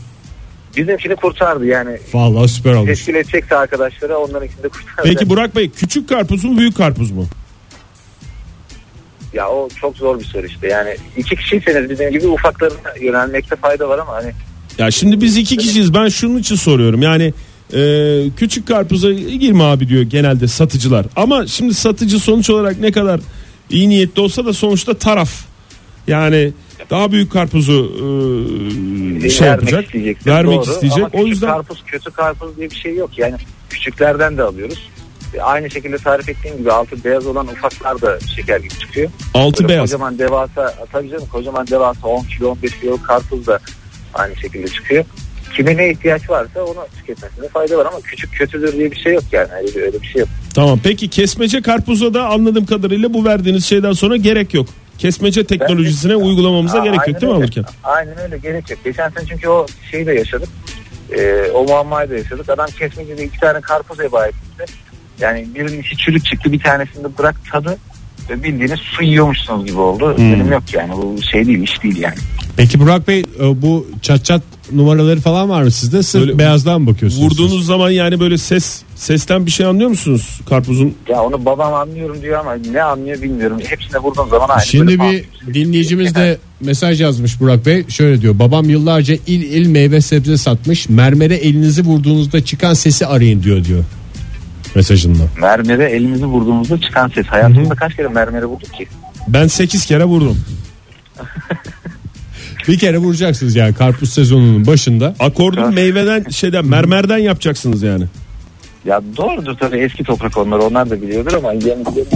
[SPEAKER 5] Bizimkini kurtardı yani.
[SPEAKER 2] Vallahi süper olmuş.
[SPEAKER 5] Teşkil edecekse arkadaşlara onlarınkini de kurtardı.
[SPEAKER 3] Peki Burak Bey küçük karpuz mu büyük karpuz mu?
[SPEAKER 5] Ya o çok zor bir soru işte. Yani iki kişiyseniz bizim gibi ufaklarına yönelmekte fayda var ama hani
[SPEAKER 3] Ya şimdi biz iki kişiyiz ben şunun için soruyorum yani e, küçük karpuza girme abi diyor genelde satıcılar ama şimdi satıcı sonuç olarak ne kadar iyi niyetli olsa da sonuçta taraf yani daha büyük karpuzu e, şey
[SPEAKER 5] vermek
[SPEAKER 3] yapacak
[SPEAKER 5] isteyecektir.
[SPEAKER 3] vermek
[SPEAKER 5] Doğru.
[SPEAKER 3] isteyecek
[SPEAKER 5] Ama
[SPEAKER 3] o
[SPEAKER 5] küçük
[SPEAKER 3] yüzden
[SPEAKER 5] karpuz kötü karpuz diye bir şey yok. Yani küçüklerden de alıyoruz. E, Aynı şekilde tarif ettiğim gibi altı beyaz olan ufaklar da şeker gibi çıkıyor.
[SPEAKER 3] altı
[SPEAKER 5] Böyle
[SPEAKER 3] beyaz
[SPEAKER 5] Kocaman devasa e, tabii canım kocaman devasa 10 kilo 15 kilo karpuz da aynı şekilde çıkıyor. Kime ne ihtiyaç varsa onu tüketmesinde fayda var ama küçük kötüdür diye bir şey yok yani öyle bir, öyle bir şey yok.
[SPEAKER 3] tamam peki kesmece karpuza da anladığım kadarıyla bu verdiğiniz şeyden sonra gerek yok kesmece teknolojisine uygulamamıza
[SPEAKER 5] Aa,
[SPEAKER 3] gerek
[SPEAKER 5] aynen
[SPEAKER 3] yok değil mi
[SPEAKER 5] öyle.
[SPEAKER 3] alırken?
[SPEAKER 5] Aynen öyle gerek yok. Geçen sene çünkü o şeyi de yaşadık. Ee, o muammayı da yaşadık. Adam kesmecede iki tane karpuz heba etmişti. Yani birinin içi çürük çıktı bir tanesinde bırak tadı. Ve bildiğiniz su yiyormuşsunuz gibi oldu.
[SPEAKER 3] Hmm.
[SPEAKER 5] Dedim yok yani bu şey değil iş değil yani.
[SPEAKER 2] Peki Burak Bey e, bu çat çat numaraları falan var mı sizde? Sırf
[SPEAKER 3] Böyle
[SPEAKER 2] beyazdan mı bakıyorsunuz? siz?
[SPEAKER 3] Vurduğunuz zaman yani böyle ses sesten bir şey anlıyor musunuz karpuzun
[SPEAKER 5] Ya onu babam anlıyorum diyor ama ne anlıyor bilmiyorum. Hepsine vurduğum zaman aynı.
[SPEAKER 2] Şimdi
[SPEAKER 5] böyle
[SPEAKER 2] bir
[SPEAKER 5] şey mahvolmuş.
[SPEAKER 2] dinleyicimiz de mesaj yazmış Burak Bey. Şöyle diyor. Babam yıllarca il il meyve sebze satmış. Mermere elinizi vurduğunuzda çıkan sesi arayın diyor diyor. Mesajında.
[SPEAKER 5] Mermere elimizi vurduğumuzda çıkan ses. Hayatımda kaç kere mermere vurduk ki?
[SPEAKER 3] ben 8 kere vurdum
[SPEAKER 2] Bir kere vuracaksınız yani karpuz sezonunun başında.
[SPEAKER 3] Akordu meyveden şeyden mermerden yapacaksınız yani.
[SPEAKER 5] Ya doğrudur tabii eski toprak onlar onlar da biliyordur ama yani bizim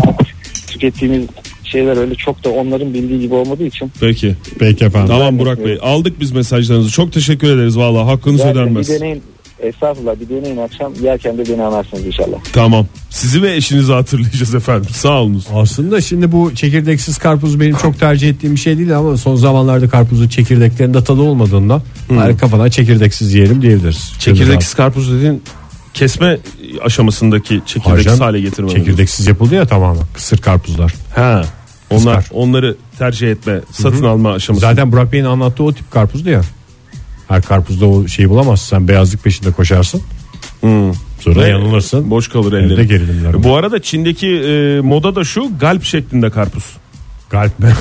[SPEAKER 5] tükettiğimiz şeyler öyle çok da onların bildiği gibi olmadığı için.
[SPEAKER 3] Peki.
[SPEAKER 2] Peki efendim.
[SPEAKER 3] Tamam Burak
[SPEAKER 2] şey.
[SPEAKER 3] Bey. Aldık biz mesajlarınızı. Çok teşekkür ederiz valla. Hakkınız
[SPEAKER 5] Yani
[SPEAKER 3] ödenmez.
[SPEAKER 5] Bir deneyin estağfurullah bir deneyin akşam yerken de beni anarsınız inşallah.
[SPEAKER 3] Tamam. Sizi ve eşinizi hatırlayacağız efendim. Sağ olunuz.
[SPEAKER 2] Aslında şimdi bu çekirdeksiz karpuz benim çok tercih ettiğim bir şey değil ama son zamanlarda karpuzun çekirdeklerinde tadı olmadığından bari kafadan çekirdeksiz yiyelim diyebiliriz.
[SPEAKER 3] Çekirdeksiz karpuz dediğin kesme aşamasındaki çekirdeksiz
[SPEAKER 2] Harcan,
[SPEAKER 3] hale getirme.
[SPEAKER 2] Çekirdeksiz yapıldı ya tamamen kısır karpuzlar.
[SPEAKER 3] Ha. Onlar
[SPEAKER 2] Kızar.
[SPEAKER 3] onları tercih etme, satın alma aşaması.
[SPEAKER 2] Zaten Burak Bey'in anlattığı o tip karpuzdu ya. Her karpuzda o şeyi bulamazsın. Sen beyazlık peşinde koşarsın. Sonra
[SPEAKER 3] Ve
[SPEAKER 2] yanılırsın.
[SPEAKER 3] Boş kalır
[SPEAKER 2] Evde
[SPEAKER 3] elleri.
[SPEAKER 2] gerilimler var.
[SPEAKER 3] Bu arada Çin'deki e, moda da şu galp şeklinde karpuz.
[SPEAKER 2] Galip mi?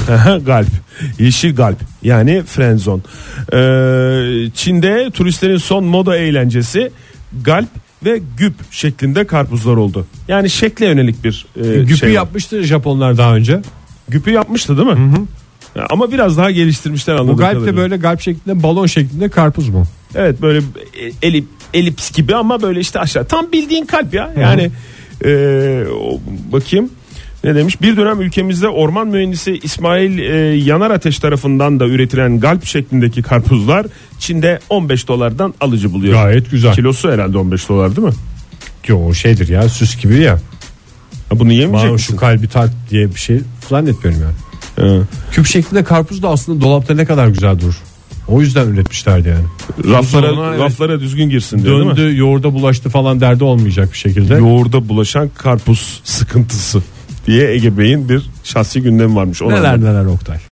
[SPEAKER 3] galp. Yeşil galp. Yani frenzon. Ee, Çin'de turistlerin son moda eğlencesi galp ve güp şeklinde karpuzlar oldu. Yani şekle yönelik bir e,
[SPEAKER 2] Güpü
[SPEAKER 3] şey var.
[SPEAKER 2] yapmıştı Japonlar daha önce.
[SPEAKER 3] Güpü yapmıştı değil mi? Ya, Ama biraz daha geliştirmişler anladığım
[SPEAKER 2] Bu galip de
[SPEAKER 3] kadarıyla.
[SPEAKER 2] böyle galip şeklinde balon şeklinde karpuz mu?
[SPEAKER 3] Evet böyle e, elip, elips gibi ama böyle işte aşağı. Tam bildiğin kalp ya. Yani e, o- bakayım ne demiş? Bir dönem ülkemizde orman mühendisi İsmail e, Yanar Ateş tarafından da üretilen galp şeklindeki karpuzlar Çin'de 15 dolardan alıcı buluyor.
[SPEAKER 2] Gayet güzel.
[SPEAKER 3] Kilosu herhalde 15 dolar değil mi?
[SPEAKER 2] Yo, o şeydir ya süs gibi ya.
[SPEAKER 3] Ha, bunu yemeyecek
[SPEAKER 2] Bana
[SPEAKER 3] misin?
[SPEAKER 2] şu kalbi tart diye bir şey zannetmiyorum yani.
[SPEAKER 3] Ee,
[SPEAKER 2] Küp şeklinde karpuz da aslında dolapta ne kadar güzel durur. O yüzden üretmişlerdi yani.
[SPEAKER 3] raflara,
[SPEAKER 2] Buzdolabına, evet.
[SPEAKER 3] raflara düzgün girsin diyor değil mi?
[SPEAKER 2] Döndü, yoğurda bulaştı falan derdi olmayacak bir şekilde.
[SPEAKER 3] Yoğurda bulaşan karpuz sıkıntısı diye Ege Bey'in bir şahsi gündemi varmış. Ona
[SPEAKER 2] Neler neler Oktay.